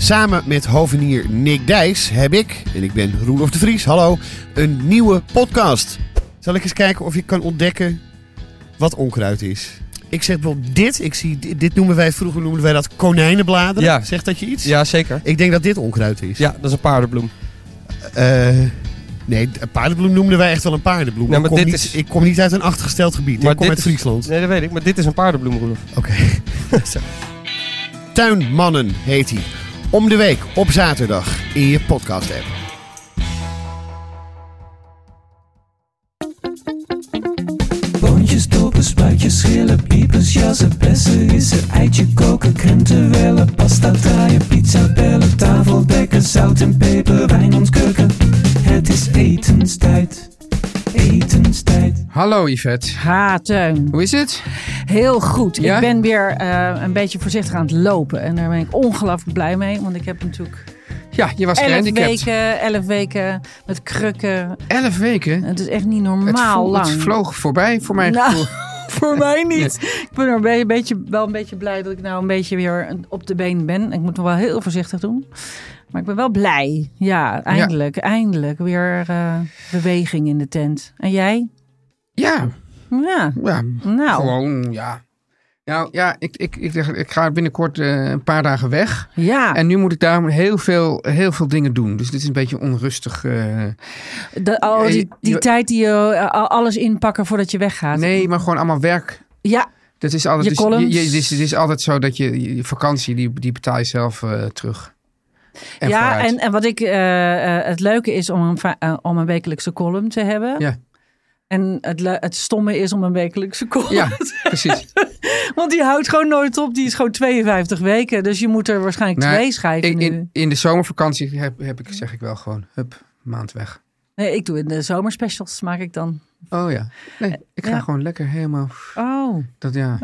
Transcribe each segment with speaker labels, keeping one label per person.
Speaker 1: Samen met hovenier Nick Dijs heb ik, en ik ben Roelof de Vries, hallo, een nieuwe podcast. Zal ik eens kijken of je kan ontdekken wat onkruid is? Ik zeg wel dit, ik zie, dit, dit noemen wij, vroeger noemden wij dat konijnenbladeren.
Speaker 2: Ja.
Speaker 1: Zegt dat je iets?
Speaker 2: Ja, zeker.
Speaker 1: Ik denk dat dit onkruid is.
Speaker 2: Ja, dat is een paardenbloem.
Speaker 1: Eh, nee, een paardenbloem noemden wij echt wel een paardenbloem.
Speaker 2: Nee, maar
Speaker 1: ik, kom
Speaker 2: dit
Speaker 1: niet,
Speaker 2: is-
Speaker 1: ik kom niet uit een achtergesteld gebied, ik kom
Speaker 2: dit
Speaker 1: uit
Speaker 2: is-
Speaker 1: Friesland.
Speaker 2: Nee, dat weet ik. Maar dit is een paardenbloem, Roelof.
Speaker 1: Oké. Zo. Tuinmannen heet hij. Om de week op zaterdag in je podcast app.
Speaker 3: Boontjes, dopen, spuitjes, schillen, piepers, jassen, bessen, rissen, eitje koken, krenten wellen, pasta draaien, pizza bellen, tafel dekken, zout en peper, wijn ontkurken. Het is etenstijd, etenstijd.
Speaker 4: Hallo Yvette,
Speaker 5: Ha, Teun.
Speaker 4: hoe is het?
Speaker 5: Heel goed.
Speaker 4: Ja?
Speaker 5: Ik ben weer eh, een beetje voorzichtig aan het lopen. En daar ben ik ongelooflijk blij mee. Want ik heb natuurlijk
Speaker 4: Ja, je was
Speaker 5: 11
Speaker 4: gehandicapt.
Speaker 5: weken, 11 weken met krukken.
Speaker 4: Elf weken?
Speaker 5: Het is echt niet
Speaker 4: Het,
Speaker 5: normaal
Speaker 4: voel-
Speaker 5: lang.
Speaker 4: het vloog voorbij voor mij.
Speaker 5: Nou, voor mij niet. Ik ben er een be- beetje, wel een beetje blij dat ik nou een beetje weer een- op de been ben. Ik moet nog wel heel voorzichtig doen. Maar ik ben wel blij. Ja, eindelijk. Eindelijk weer eh, beweging in de tent. En jij?
Speaker 4: Ja,
Speaker 5: Ja.
Speaker 4: ja
Speaker 5: Nou,
Speaker 4: gewoon ja. Nou ja, ik, ik, ik, zeg, ik ga binnenkort eh, een paar dagen weg.
Speaker 5: ja.
Speaker 4: En nu moet ik daarom heel veel, heel veel dingen doen. Dus dit is een beetje onrustig. eh.
Speaker 5: De, oh,
Speaker 4: Ja,
Speaker 5: die,
Speaker 4: je-
Speaker 5: die
Speaker 4: je-
Speaker 5: tijd die je eh, al- alles inpakken voordat je weggaat.
Speaker 4: Nee, maar gewoon allemaal werk.
Speaker 5: Ja,
Speaker 4: Dat is altijd,
Speaker 5: Je
Speaker 4: dus,
Speaker 5: columns.
Speaker 4: je- het is, het is altijd zo dat je, je je vakantie, die, die betaal je zelf eh, terug. En
Speaker 5: ja
Speaker 4: vooruit.
Speaker 5: en, en wat ik eh, eh, het leuke is om een, va- eh, om een wekelijkse column te hebben.
Speaker 4: Ja.
Speaker 5: En het, le- het stomme is om een wekelijkse column.
Speaker 4: Ja, precies.
Speaker 5: Want die houdt gewoon nooit op. Die is gewoon 52 weken. Dus je moet er waarschijnlijk
Speaker 4: Nou,
Speaker 5: twee schrijven
Speaker 4: In,
Speaker 5: nu.
Speaker 4: in, in de zomervakantie heb, heb ik, zeg ik wel gewoon, hup, maand weg.
Speaker 5: Nee, ik doe het in de zomerspecials maak ik dan.
Speaker 4: Oh ja. Nee, ik ga
Speaker 5: Eh, ja.
Speaker 4: gewoon lekker helemaal.
Speaker 5: Oh, oké.
Speaker 4: Dat, ja.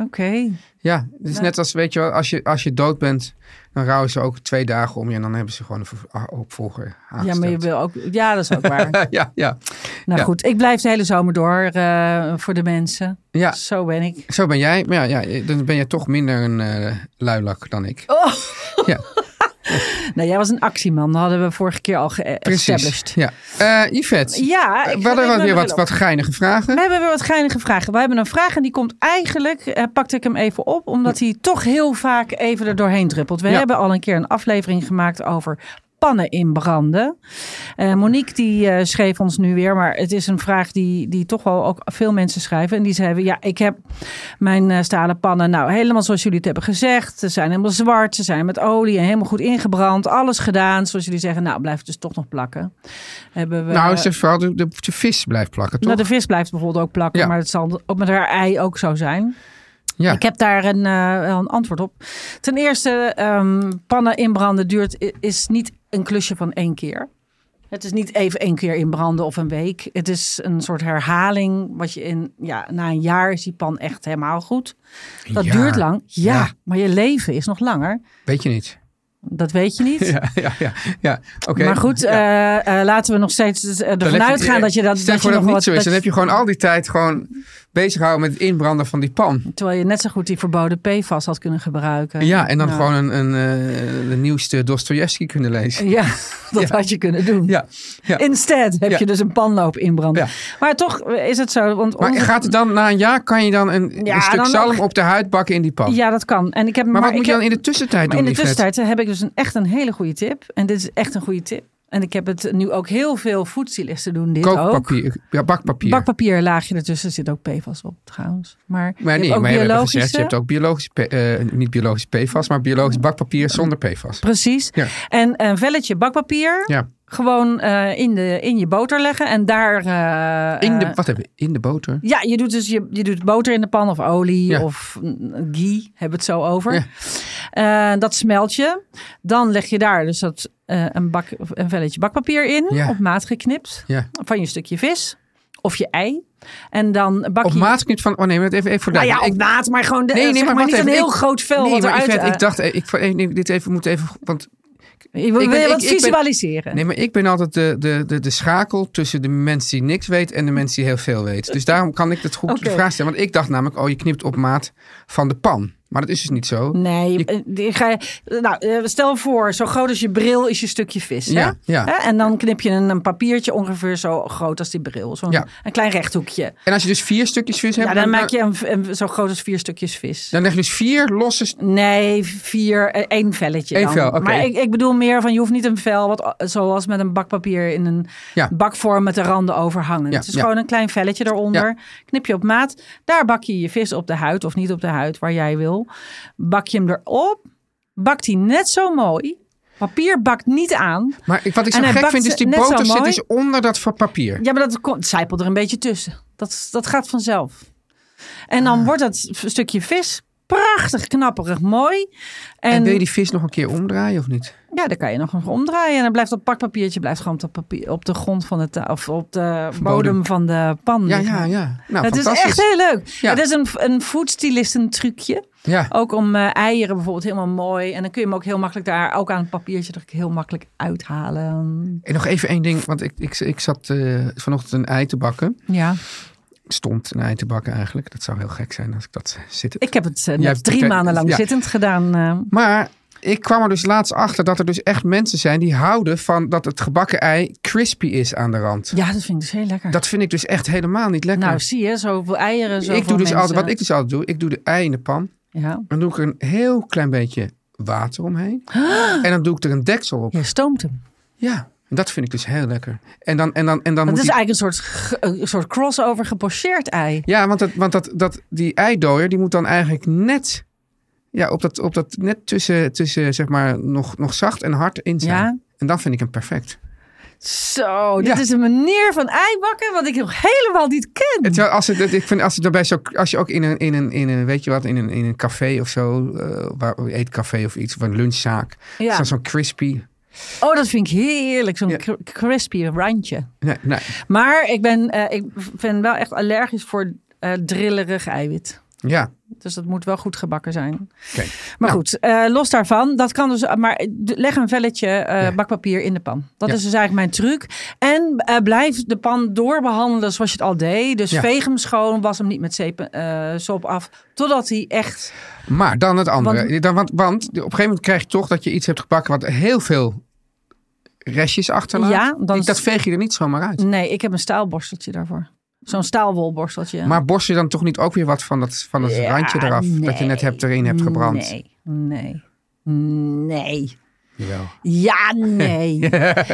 Speaker 4: ja, het is net als, weet je wel, als je, als je dood bent, dan rouwen ze ook twee dagen om je en dan hebben ze gewoon een ver- a- opvolger
Speaker 5: Ja, maar je
Speaker 4: aangesteld.
Speaker 5: wil ook... Ja, dat is ook waar.
Speaker 4: ja, ja.
Speaker 5: nou
Speaker 4: Ja.
Speaker 5: goed, ik blijf de hele zomer door eh, voor de mensen.
Speaker 4: ja,
Speaker 5: Zo ben ik.
Speaker 4: zo ben jij. Maar ja, ja, dan ben je toch minder een eh, luilak dan ik.
Speaker 5: Oh.
Speaker 4: Ja.
Speaker 5: nou, jij was een actieman. Dat hadden we vorige keer al geëstablished.
Speaker 4: Ja. Eh, Yvette,
Speaker 5: Ja, ik
Speaker 4: we
Speaker 5: ga
Speaker 4: hadden
Speaker 5: even
Speaker 4: wat, weer
Speaker 5: naar
Speaker 4: wat,
Speaker 5: Willem.
Speaker 4: wat geinige vragen.
Speaker 5: We hebben weer wat geinige vragen. We hebben een vraag en die komt eigenlijk, eh, pakte ik hem even op, omdat hij toch heel vaak even er doorheen druppelt. We
Speaker 4: Ja.
Speaker 5: hebben al een keer een aflevering gemaakt over pannen inbranden. Eh, Monique die eh, schreef ons nu weer, maar het is een vraag die, die toch wel ook veel mensen schrijven. En die zeiden, ja, ik heb mijn eh, stalen pannen, nou helemaal zoals jullie het hebben gezegd. Ze zijn helemaal zwart, ze zijn met olie en helemaal goed ingebrand. Alles gedaan, zoals jullie zeggen. Nou, blijft dus toch nog plakken. Hebben we,
Speaker 4: nou, zeg vooral de, de, de vis blijft plakken, toch?
Speaker 5: nou, Eh, de vis blijft bijvoorbeeld ook plakken,
Speaker 4: Ja.
Speaker 5: maar het zal ook met haar ei ook zo zijn.
Speaker 4: ja.
Speaker 5: Ik heb daar een, eh, wel een antwoord op. Ten eerste, ehm, pannen inbranden duurt, i- is niet een klusje van één keer. Het is niet even één keer inbranden of een week. Het is een soort herhaling. Wat je in, ja, na een jaar is die pan echt helemaal goed. Dat
Speaker 4: Ja.
Speaker 5: duurt lang. Ja,
Speaker 4: Ja.
Speaker 5: maar je leven is nog langer.
Speaker 4: Weet je niet.
Speaker 5: Dat weet je niet.
Speaker 4: Ja, ja, ja. ja. Oké.
Speaker 5: Maar goed,
Speaker 4: Ja.
Speaker 5: eh, eh, laten we nog steeds eh,
Speaker 4: Dan
Speaker 5: ervan
Speaker 4: heb je-
Speaker 5: uitgaan dat je dat.
Speaker 4: Stel
Speaker 5: dat
Speaker 4: voor
Speaker 5: je
Speaker 4: dat het
Speaker 5: nog wat-
Speaker 4: niet zo is.
Speaker 5: dat
Speaker 4: Dan heb je gewoon al die tijd gewoon bezighouden met het inbranden van die pan.
Speaker 5: Terwijl je net zo goed die verboden PFAS had kunnen gebruiken.
Speaker 4: Ja, en dan
Speaker 5: Nou,
Speaker 4: gewoon een, een, eh, de nieuwste Dostoevsky kunnen lezen.
Speaker 5: Ja, dat
Speaker 4: Ja.
Speaker 5: had je kunnen doen.
Speaker 4: Ja, ja.
Speaker 5: Instead heb
Speaker 4: Ja.
Speaker 5: je dus een panloop inbranden.
Speaker 4: Ja.
Speaker 5: Maar toch is het zo. Want
Speaker 4: Maar
Speaker 5: onze-
Speaker 4: gaat het dan na een jaar, kan je dan een,
Speaker 5: Ja,
Speaker 4: een stuk
Speaker 5: dan nog.
Speaker 4: zalm op de huid bakken in die pan?
Speaker 5: Ja, dat kan. En ik heb,
Speaker 4: maar, wat
Speaker 5: ik
Speaker 4: moet je
Speaker 5: heb-
Speaker 4: dan in de tussentijd
Speaker 5: Maar
Speaker 4: doen,
Speaker 5: in de
Speaker 4: Yvette?
Speaker 5: tussentijd heb ik dus een, echt een hele goede tip. En dit is echt een goede tip. En ik heb het nu ook heel veel voedselisten doen dit ook.
Speaker 4: Kookpapier, ja, bakpapier.
Speaker 5: Bakpapier laagje ertussen zit ook PFAS op trouwens. Maar,
Speaker 4: maar
Speaker 5: je
Speaker 4: nee,
Speaker 5: hebt ook
Speaker 4: maar je hebt,
Speaker 5: biologische.
Speaker 4: gezegd, je hebt ook biologisch, pe- eh, niet biologisch PFAS, maar biologisch bakpapier zonder PFAS.
Speaker 5: Precies.
Speaker 4: Ja.
Speaker 5: En een velletje bakpapier
Speaker 4: Ja.
Speaker 5: gewoon eh, in, de, in je boter leggen. En daar... eh,
Speaker 4: In de,
Speaker 5: eh,
Speaker 4: wat hebben we? In de boter?
Speaker 5: Ja, je doet dus je, je doet boter in de pan of olie
Speaker 4: Ja.
Speaker 5: of mm, ghee, hebben we het zo over.
Speaker 4: Ja.
Speaker 5: Eh, dat smelt je. Dan leg je daar dus dat, eh, een, bak, of een velletje bakpapier in,
Speaker 4: Ja.
Speaker 5: op maat geknipt,
Speaker 4: Ja.
Speaker 5: van je stukje vis of je ei. En dan bak
Speaker 4: Op
Speaker 5: je...
Speaker 4: maat niet van... Oh nee, maar even, even voor
Speaker 5: Nou ja,
Speaker 4: duidelijk.
Speaker 5: op
Speaker 4: Ik-
Speaker 5: maat, maar gewoon de, nee, zeg maar
Speaker 4: wacht
Speaker 5: niet
Speaker 4: even.
Speaker 5: een heel
Speaker 4: Ik-
Speaker 5: groot vel
Speaker 4: nee,
Speaker 5: wat
Speaker 4: maar
Speaker 5: eruit...
Speaker 4: Yvette,
Speaker 5: eh,
Speaker 4: ik dadacht, eh, ik, eh, nee, dit even moet even... Want,
Speaker 5: je wil
Speaker 4: ik ben-
Speaker 5: wil je
Speaker 4: ik-
Speaker 5: wat
Speaker 4: ik ben-
Speaker 5: visualiseren.
Speaker 4: nee, maar ik ben altijd de, de, de, de schakel tussen de mens die niks weet en de mens die heel veel weet. Dus daarom kan ik dat goed
Speaker 5: Oké.
Speaker 4: de vraag stellen. Want ik dacht namelijk, oh, je knipt op maat van de pan. Maar dat is dus niet zo.
Speaker 5: Nee,
Speaker 4: Je-
Speaker 5: eh, die ga je- nou, eh, stel voor, zo groot als je bril is je stukje vis. hè?
Speaker 4: Ja, ja.
Speaker 5: Hè? En dan knip je een, een papiertje ongeveer zo groot als die bril. Zo'n
Speaker 4: Ja.
Speaker 5: een klein rechthoekje.
Speaker 4: En als je dus vier stukjes vis hebt...
Speaker 5: Ja, dan maak je een, een- zo groot als vier stukjes vis.
Speaker 4: Dan leg je dus vier losse... st-
Speaker 5: Nee, vier, eh, één velletje.
Speaker 4: Eén
Speaker 5: dan.
Speaker 4: vel, oké.
Speaker 5: Maar ik, ik bedoel meer van je hoeft niet een vel, wat, eh, zoals met een bakpapier in een
Speaker 4: Ja.
Speaker 5: bakvorm met de randen overhangen.
Speaker 4: Ja,
Speaker 5: Het is
Speaker 4: ja.
Speaker 5: gewoon een klein velletje eronder. Knip je op maat. Daar bak je je vis op de huid of niet op de huid, waar jij wil. Bak je hem erop. Bakt hij net zo mooi. Papier bakt niet aan.
Speaker 4: Maar ik, wat ik zo
Speaker 5: En hij
Speaker 4: gek
Speaker 5: bakt
Speaker 4: vind, is
Speaker 5: ze
Speaker 4: die
Speaker 5: net zo
Speaker 4: boter zit
Speaker 5: mooi.
Speaker 4: dus onder dat va- papier.
Speaker 5: Ja, maar dat komt, het zijpelt er een beetje tussen. Dat, dat gaat vanzelf. En
Speaker 4: Ah.
Speaker 5: dan wordt dat v- stukje vis prachtig, knapperig, mooi. En,
Speaker 4: En wil je die vis nog een keer omdraaien of niet?
Speaker 5: ja, dan kan je nog een omdraaien. En dan blijft dat pakpapiertje blijft gewoon op de, papier, op de grond van de ta- of op de bodem,
Speaker 4: bodem.
Speaker 5: van de pan.
Speaker 4: Ja,
Speaker 5: liggen.
Speaker 4: ja, ja. Nou,
Speaker 5: Het is
Speaker 4: fantastisch.
Speaker 5: echt heel leuk.
Speaker 4: Ja.
Speaker 5: Het is een, een foodstylisten trucje.
Speaker 4: Ja.
Speaker 5: Ook om eh, eieren bijvoorbeeld helemaal mooi. En dan kun je hem ook heel makkelijk daar, ook aan het papiertje, dat heel makkelijk uithalen.
Speaker 4: En nog even één ding, want ik, ik, ik zat eh, vanochtend een ei te bakken.
Speaker 5: Ja.
Speaker 4: Stond een ei te bakken eigenlijk. Dat zou heel gek zijn als ik dat zit.
Speaker 5: Ik heb het eh,
Speaker 4: Jij
Speaker 5: net
Speaker 4: hebt-
Speaker 5: drie
Speaker 4: kijk,
Speaker 5: maanden lang
Speaker 4: ja.
Speaker 5: zittend gedaan. eh.
Speaker 4: Maar ik kwam er dus laatst achter dat er dus echt mensen zijn die houden van dat het gebakken ei crispy is aan de rand.
Speaker 5: ja, dat vind ik dus heel lekker.
Speaker 4: Dat vind ik dus echt helemaal niet lekker.
Speaker 5: nou, zie je, zoveel eieren, zoveel
Speaker 4: ik doe dus
Speaker 5: mensen.
Speaker 4: altijd, wat ik dus altijd doe, ik doe de ei in de pan.
Speaker 5: Ja.
Speaker 4: Dan doe ik er een heel klein beetje water omheen. En dan doe ik er een deksel op.
Speaker 5: Je stoomt hem.
Speaker 4: Ja, en dat vind ik dus heel lekker. En dan, en dan, en dan
Speaker 5: Dat
Speaker 4: moet
Speaker 5: is
Speaker 4: die-
Speaker 5: eigenlijk een soort, ge- een soort crossover gepocheerd ei.
Speaker 4: Ja, want, dat, want dat, dat, die eidooier die moet dan eigenlijk net, ja, op dat, op dat, net tussen, tussen zeg maar, nog, nog zacht en hard in zijn.
Speaker 5: Ja. Mm.
Speaker 4: En dan vind ik hem perfect.
Speaker 5: Zo, dit
Speaker 4: Ja.
Speaker 5: is een manier van ei bakken wat ik nog helemaal niet ken.
Speaker 4: En terwijl als, het, het- ik vind, als, het daarbij zo, als je ook in een, in, een, in, een, weet je wat, in, een, in een café of zo, eh, waar, eetcafé of iets, of een lunchzaak,
Speaker 5: Ja.
Speaker 4: staat zo'n crispy.
Speaker 5: Oh, dat vind ik heerlijk, zo'n
Speaker 4: Ja.
Speaker 5: cr- crispy randje.
Speaker 4: Nee, nee.
Speaker 5: Maar ik ben, eh, ik ben wel echt allergisch voor eh, drillerig eiwit.
Speaker 4: Ja,
Speaker 5: Dus dat moet wel goed gebakken zijn.
Speaker 4: oké.
Speaker 5: Maar
Speaker 4: Nou.
Speaker 5: goed, eh, los daarvan. Dat kan dus. Maar leg een velletje eh,
Speaker 4: Ja.
Speaker 5: bakpapier in de pan. Dat
Speaker 4: Ja.
Speaker 5: is dus eigenlijk mijn truc. En eh, blijf de pan doorbehandelen zoals je het al deed. Dus
Speaker 4: Ja.
Speaker 5: veeg hem schoon, was hem niet met zeep, eh, sop af. Totdat hij echt.
Speaker 4: Maar dan het andere.
Speaker 5: Want-
Speaker 4: Want, dan, want, want op een gegeven moment krijg je toch dat je iets hebt gebakken wat heel veel restjes achterlaat.
Speaker 5: Ja, dan
Speaker 4: Die-
Speaker 5: is-
Speaker 4: Dat veeg je er niet zomaar uit.
Speaker 5: Nee, ik heb een staalborsteltje daarvoor. Zo'n staalwolborsteltje.
Speaker 4: Maar borst je dan toch niet ook weer wat van dat, van dat
Speaker 5: Ja,
Speaker 4: randje eraf dat je net
Speaker 5: nee.
Speaker 4: hebt erin hebt gebrand?
Speaker 5: Nee, nee, nee.
Speaker 4: Jawel.
Speaker 5: Ja, nee.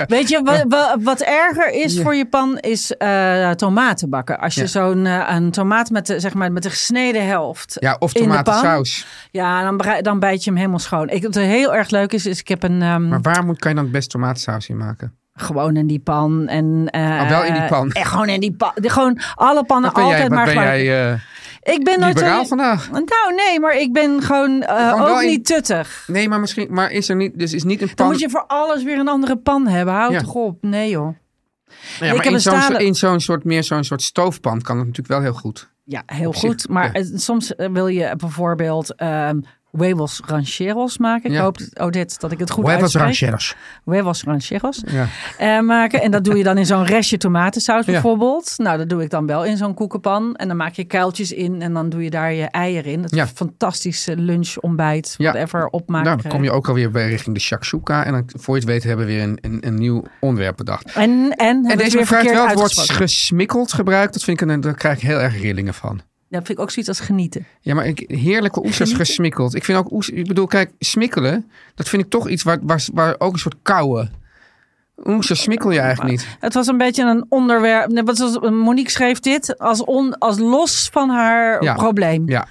Speaker 5: Weet je, wa- wa- wat erger is voor je pan is eh tomaten bakken. Als je
Speaker 4: Ja.
Speaker 5: zo'n eh, een tomaat met de, zeg maar, met de gesneden helft
Speaker 4: Ja, of
Speaker 5: in de pan.
Speaker 4: tomatensaus.
Speaker 5: Ja, dan, brei- dan bijt je hem helemaal schoon. Ik, wat heel erg leuk is, is ik heb een... ehm,
Speaker 4: Maar waar moet, kan je dan het best tomatensaus in maken?
Speaker 5: Gewoon in die pan. En, eh,
Speaker 4: Oh, wel in die pan.
Speaker 5: eh, gewoon in die pan. De- Gewoon alle pannen
Speaker 4: Wat ben jij,
Speaker 5: altijd
Speaker 4: wat
Speaker 5: maar
Speaker 4: ben
Speaker 5: gelijk.
Speaker 4: jij eh,
Speaker 5: ik ben nooit zo-
Speaker 4: liberaal vandaag?
Speaker 5: Nou, nee, maar ik ben gewoon, eh,
Speaker 4: Gewoon wel
Speaker 5: ook
Speaker 4: in-
Speaker 5: niet tuttig.
Speaker 4: Nee, maar misschien, maar is er niet, dus is niet een
Speaker 5: Dan
Speaker 4: pan.
Speaker 5: moet je voor alles weer een andere pan hebben. Houd
Speaker 4: Ja. Nou
Speaker 5: toch op. Nee joh.
Speaker 4: ja,
Speaker 5: ik
Speaker 4: maar
Speaker 5: heb
Speaker 4: in
Speaker 5: een
Speaker 4: zo'n
Speaker 5: stalen-
Speaker 4: in zo'n soort, meer zo'n soort stoofpan kan het natuurlijk wel heel goed.
Speaker 5: Ja, heel
Speaker 4: Op zich,
Speaker 5: goed. Maar
Speaker 4: ja.
Speaker 5: eh, soms eh, wil je bijvoorbeeld ehm, Huevos Rancheros maken. Ik
Speaker 4: Ja.
Speaker 5: hoop, Odette, dat ik het goed
Speaker 2: Huevos
Speaker 5: uitspreek.
Speaker 2: rancheros.
Speaker 5: Huevos Rancheros
Speaker 4: Ja.
Speaker 5: eh, maken. En dat doe je dan in zo'n restje tomatensaus
Speaker 4: Ja.
Speaker 5: bijvoorbeeld. Nou, dat doe ik dan wel in zo'n koekenpan. En dan maak je kuiltjes in en dan doe je daar je eieren in. Dat is
Speaker 4: Ja.
Speaker 5: een fantastische lunch, ontbijt,
Speaker 4: Ja.
Speaker 5: whatever, eh, opmaken.
Speaker 4: Nou, dan kom je ook alweer bij richting de shakshuka. En dan, voor je het weet, hebben we weer een, een, een nieuw onderwerp bedacht.
Speaker 5: En, en, hebben
Speaker 4: En
Speaker 5: we
Speaker 4: deze
Speaker 5: het Nou,
Speaker 4: mevrouw
Speaker 5: weer
Speaker 4: heeft
Speaker 5: verkeerd
Speaker 4: wel het woord
Speaker 5: uitgesproken.
Speaker 4: gesmikkeld gebruikt. Dat vind ik een, daar krijg ik heel erg rillingen van.
Speaker 5: Dat vind ik ook zoiets als genieten.
Speaker 4: Ja, maar ik, heerlijke oesters
Speaker 5: Genieten.
Speaker 4: gesmikkeld. Ik vind ook oesters, ik bedoel, kijk, smikkelen, dat vind ik toch iets waar, waar, waar ook een soort kouwen. Oesters smikkel je eigenlijk niet.
Speaker 5: Het was een beetje een onderwerp. Nee, wat was- Monique schreef dit als, on, als los van haar
Speaker 4: Ja.
Speaker 5: probleem.
Speaker 4: Ja.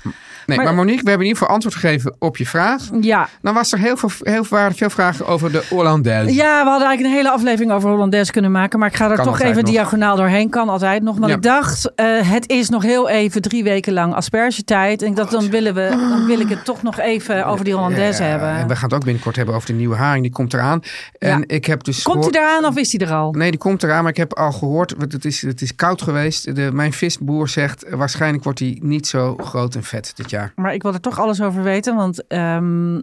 Speaker 4: Nee,
Speaker 5: Maar-
Speaker 4: maar, Monique, we hebben in ieder geval antwoord gegeven op je vraag.
Speaker 5: Ja.
Speaker 4: Dan was er heel veel, heel, waren veel vragen over de Hollandaise.
Speaker 5: Ja, we hadden eigenlijk een hele aflevering over Hollandaise kunnen maken. Maar ik ga er
Speaker 4: Dus- Kan
Speaker 5: toch
Speaker 4: altijd
Speaker 5: even
Speaker 4: nog.
Speaker 5: diagonaal doorheen. Kan altijd nog. Want
Speaker 4: Ja.
Speaker 5: ik dacht, eh, het is nog heel even drie weken lang aspergetijd. En ik dacht, dan, willen we, dan wil ik het toch nog even over die Hollandaise
Speaker 4: Ja,
Speaker 5: hebben.
Speaker 4: En we gaan het ook binnenkort hebben over de nieuwe haring. Die komt eraan. En
Speaker 5: Ja.
Speaker 4: ik heb dus
Speaker 5: Komt
Speaker 4: gehoor-
Speaker 5: hij eraan of is hij er al?
Speaker 4: Nee, die komt eraan, maar ik heb al gehoord, want het is, het is koud geweest. De, mijn visboer zegt, eh, waarschijnlijk wordt hij niet zo groot en vet dit jaar.
Speaker 5: Maar ik wil er toch alles over weten. Want ehm,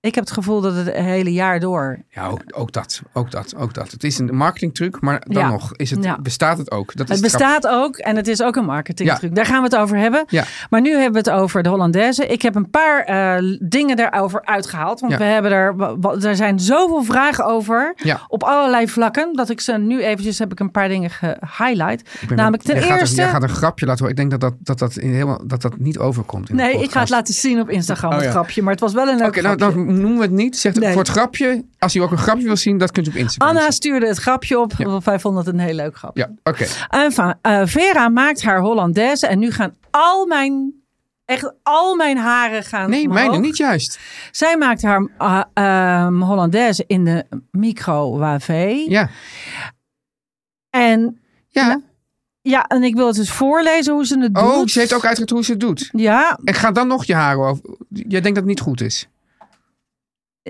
Speaker 5: ik heb het gevoel dat het het hele jaar door.
Speaker 4: Ja, ook, ook dat, ook dat, ook dat. Het is een marketingtruc, maar dan
Speaker 5: Ja.
Speaker 4: nog is het,
Speaker 5: Ja.
Speaker 4: bestaat het ook. Dat is
Speaker 5: Het bestaat ook en het is ook een marketingtruc.
Speaker 4: Ja.
Speaker 5: Daar gaan we het over hebben.
Speaker 4: Ja.
Speaker 5: Maar nu hebben we het over de Hollandaise. Ik heb een paar eh, dingen daarover uitgehaald. Want
Speaker 4: Ja.
Speaker 5: we hebben er, wa- wa- er zijn zoveel vragen over.
Speaker 4: Ja.
Speaker 5: Op allerlei vlakken. Dat ik ze nu eventjes heb ik een paar dingen gehighlight.
Speaker 4: Ik ben-
Speaker 5: Namelijk ten
Speaker 4: jij gaat er-
Speaker 5: eerste...
Speaker 4: jij gaat een grapje laten horen. Ik denk dat dat, dat, dat, in helemaal, dat, dat niet overkomt. In de
Speaker 5: nee, ik ga
Speaker 4: podcast.
Speaker 5: het laten zien op Instagram.
Speaker 4: Oh,
Speaker 5: het
Speaker 4: ja.
Speaker 5: grapje. Maar het was wel een leuk
Speaker 4: Oké, nou,
Speaker 5: grapje.
Speaker 4: dan noemen we het niet. Zegt
Speaker 5: Nee.
Speaker 4: voor het grapje. Als u ook een grapje wil zien, dat kunt u op Instagram.
Speaker 5: Anna
Speaker 4: zien.
Speaker 5: stuurde het grapje op.
Speaker 4: Ja.
Speaker 5: want Wij vonden het een heel leuk grapje.
Speaker 4: Ja, oké.
Speaker 5: Enfin, eh, Vera maakt haar Hollandaise. En nu gaan al mijn... Echt al mijn haren gaan
Speaker 4: Nee,
Speaker 5: omhoog.
Speaker 4: mijne niet juist.
Speaker 5: Zij maakt haar ah, ehm, Hollandaise in de microwave.
Speaker 4: Ja,
Speaker 5: En
Speaker 4: ja.
Speaker 5: ja, en ik wil het dus voorlezen hoe ze het doet.
Speaker 4: Oh, ze heeft ook uitgelegd hoe ze het doet.
Speaker 5: Ja,
Speaker 4: En ga dan nog je haren over. Jij denkt dat het niet goed is.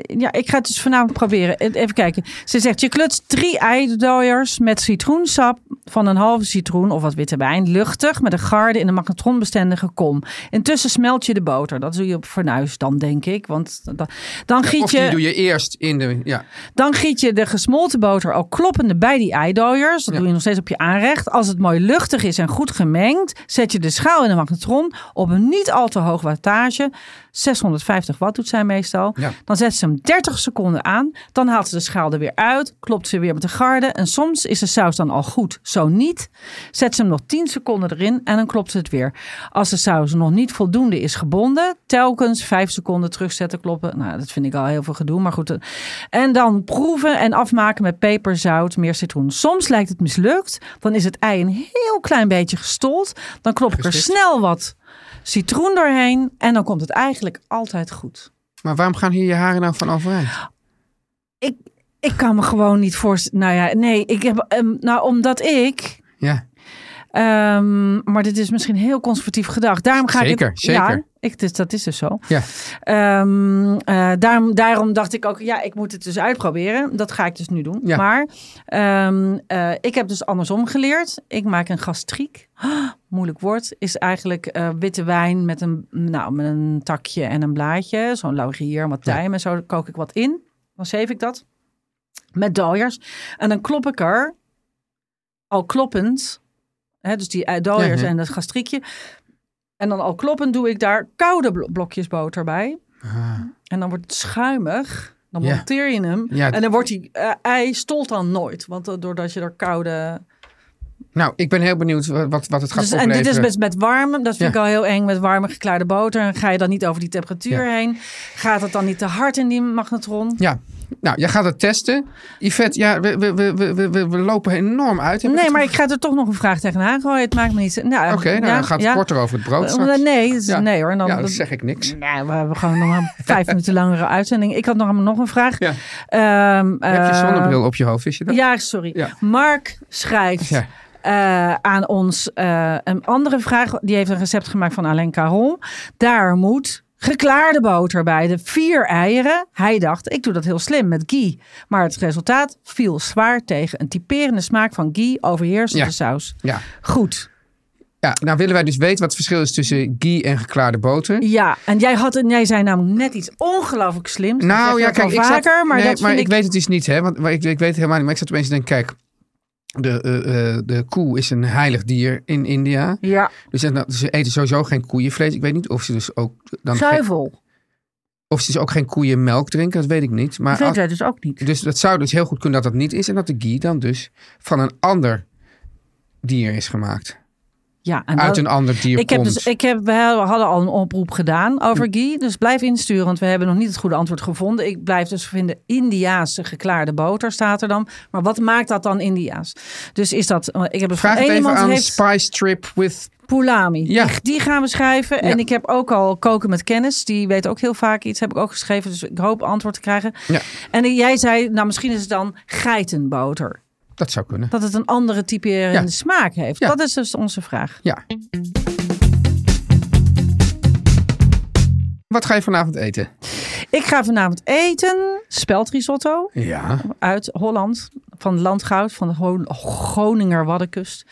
Speaker 5: ja, ik ga het dus vanavond proberen. E- Even kijken. Ze zegt, je klutst drie eidooiers met citroensap van een halve citroen of wat witte wijn. Luchtig met een garde in een magnetronbestendige kom. Intussen smelt je de boter. Dat doe je op fornuis dan, denk ik. Want dan, dan giet
Speaker 4: Of
Speaker 5: je...
Speaker 4: die doe je eerst in de. Ja,
Speaker 5: Dan giet je de gesmolten boter al kloppende bij die eidooiers. Dat
Speaker 4: Ja.
Speaker 5: doe je nog steeds op je aanrecht. Als het mooi luchtig is en goed gemengd, zet je de schaal in de magnetron op een niet al te hoog wattage. 650 watt doet zij meestal.
Speaker 4: Ja.
Speaker 5: Dan zet ze hem 30 seconden aan. Dan haalt ze de schaal er weer uit. Klopt ze weer met de garde. En soms is de saus dan al goed. Zo niet. Zet ze hem nog 10 seconden erin en dan klopt ze het weer. Als de saus nog niet voldoende is gebonden, telkens 5 seconden terugzetten kloppen. Nou, dat vind ik al heel veel gedoe, maar goed. En dan proeven en afmaken met peper, zout, meer citroen. Soms lijkt het mislukt. Dan is het ei een heel klein beetje gestold. Dan klop ik er
Speaker 4: Geschikt.
Speaker 5: snel wat citroen doorheen. En dan komt het eigenlijk altijd goed.
Speaker 4: maar waarom gaan hier je haren nou van overeind?
Speaker 5: Ik, ik kan me gewoon niet voorstellen. Nou ja, nee, ik heb. ehm, nou, omdat ik.
Speaker 4: Ja,
Speaker 5: ehm, maar dit is misschien heel conservatief gedacht. Daarom ga
Speaker 4: Zeker,
Speaker 5: ik. het- Ja,
Speaker 4: zeker.
Speaker 5: ik, dus, dat is dus zo.
Speaker 4: ja.
Speaker 5: Ehm, eh, daarom, daarom dacht ik ook, ja, ik moet het dus uitproberen. Dat ga ik dus nu doen.
Speaker 4: Ja.
Speaker 5: Maar ehm, eh, ik heb dus andersom geleerd. Ik maak een gastriek. Ah, moeilijk woord. Is eigenlijk eh, witte wijn met een, nou, met een takje en een blaadje. Zo'n laurier, wat tijm en zo kook ik wat in. Dan zeef ik dat. Met dooiers. En dan klop ik er, al kloppend... Hè, dus die dooiers
Speaker 4: Ja, ja.
Speaker 5: en dat gastriekje. En dan al kloppend doe ik daar koude blo- blokjes boter bij. En dan wordt het schuimig. Dan
Speaker 4: Ah. Ja.
Speaker 5: monteer je hem.
Speaker 4: Ja.
Speaker 5: En dan wordt die eh, ei stolt dan nooit. Want eh, doordat je er koude...
Speaker 4: Nou, ik ben heel benieuwd wat, wat, wat het gaat
Speaker 5: Dus, en
Speaker 4: opleveren.
Speaker 5: dit is met, met warme. Dat vind
Speaker 4: Ja.
Speaker 5: ik al heel eng. Met warme geklaarde boter. En ga je dan niet over die temperatuur
Speaker 4: Ja.
Speaker 5: heen? Gaat het dan niet te hard in die magnetron?
Speaker 4: Ja, nou, jij gaat het testen. Yvette, ja, we, we, we, we- we, we, we lopen enorm uit. heb
Speaker 5: Nee,
Speaker 4: het
Speaker 5: maar
Speaker 4: gevoel.
Speaker 5: ik ga er toch nog een vraag tegenaan gooien. Het maakt me niet... Nou,
Speaker 4: Oké, nou,
Speaker 5: ja,
Speaker 4: dan gaat het
Speaker 5: ja.
Speaker 4: korter over het brood
Speaker 5: Eh,
Speaker 4: straks.
Speaker 5: Nee, dat is-
Speaker 4: Ja.
Speaker 5: nee hoor. Dan,
Speaker 4: ja, dan
Speaker 5: dat-
Speaker 4: zeg ik niks.
Speaker 5: Nee, we hebben gewoon nog een vijf minuten langere uitzending. Ik had nog, nog een vraag.
Speaker 4: Ja.
Speaker 5: Ehm,
Speaker 4: Je hebt je
Speaker 5: eh,
Speaker 4: zonnebril op je hoofd, wist je dat?
Speaker 5: Ja, sorry.
Speaker 4: Ja.
Speaker 5: Mark schrijft
Speaker 4: Ja.
Speaker 5: eh, aan ons eh, een andere vraag. Die heeft een recept gemaakt van Alain Caron. Daar moet geklaarde boter bij. De vier eieren. Hij dacht, ik doe dat heel slim met ghee. Maar het resultaat viel zwaar tegen. Een typerende smaak van ghee overheerste
Speaker 4: Ja.
Speaker 5: de saus.
Speaker 4: Ja.
Speaker 5: Goed.
Speaker 4: Ja, nou willen wij dus weten wat het verschil is tussen ghee en geklaarde boter.
Speaker 5: Ja, en jij, had, en jij zei namelijk net iets ongelooflijk slims. Dat zeg
Speaker 4: Nou
Speaker 5: je
Speaker 4: ja,
Speaker 5: ook
Speaker 4: kijk,
Speaker 5: al
Speaker 4: ik zat-
Speaker 5: vaker, maar
Speaker 4: nee,
Speaker 5: dat
Speaker 4: maar
Speaker 5: vind
Speaker 4: ik weet het dus niet, hè? Want maar ik, ik weet het helemaal niet. Maar ik zat opeens te denken: kijk, de, eh, eh, de koe is een heilig dier in India.
Speaker 5: Ja,
Speaker 4: Dus ze- nou, ze eten sowieso geen koeienvlees. Ik weet niet of ze dus ook dan geen-
Speaker 5: zuivel.
Speaker 4: of ze dus ook geen koeienmelk drinken. Dat weet ik niet. Maar
Speaker 5: Dat weten
Speaker 4: als-
Speaker 5: wij dus ook niet.
Speaker 4: dus dat zou dus heel goed kunnen dat dat niet is en dat de ghee dan dus van een ander dier is gemaakt.
Speaker 5: Ja, en
Speaker 4: Uit
Speaker 5: dat-
Speaker 4: een ander dier
Speaker 5: ik heb
Speaker 4: komt.
Speaker 5: dus, ik heb, we hadden al een oproep gedaan over ghee. Dus blijf insturen, want we hebben nog niet het goede antwoord gevonden. Ik blijf dus vinden Indiaanse geklaarde boter staat er dan. Maar wat maakt dat dan Indiaas? Dus is dat... Ik heb dus
Speaker 4: Vraag
Speaker 5: van
Speaker 4: het
Speaker 5: één
Speaker 4: even
Speaker 5: iemand
Speaker 4: aan
Speaker 5: heeft
Speaker 4: Spice Trip with.
Speaker 5: Poulami.
Speaker 4: Ja.
Speaker 5: Die, die gaan we schrijven. En
Speaker 4: Ja.
Speaker 5: ik heb ook al Koken met Kennis. Die weet ook heel vaak iets. Heb ik ook geschreven. Dus ik hoop antwoord te krijgen.
Speaker 4: Ja,
Speaker 5: En jij zei, nou misschien is het dan geitenboter.
Speaker 4: dat zou kunnen.
Speaker 5: Dat het een andere type
Speaker 4: Ja.
Speaker 5: smaak heeft.
Speaker 4: Ja.
Speaker 5: Dat is dus onze vraag.
Speaker 4: Ja. Wat ga je vanavond eten?
Speaker 5: Ik ga vanavond eten speldrisotto
Speaker 4: Ja.
Speaker 5: uit Holland. Van Landgoud, van de Ho- Groninger Waddenkust.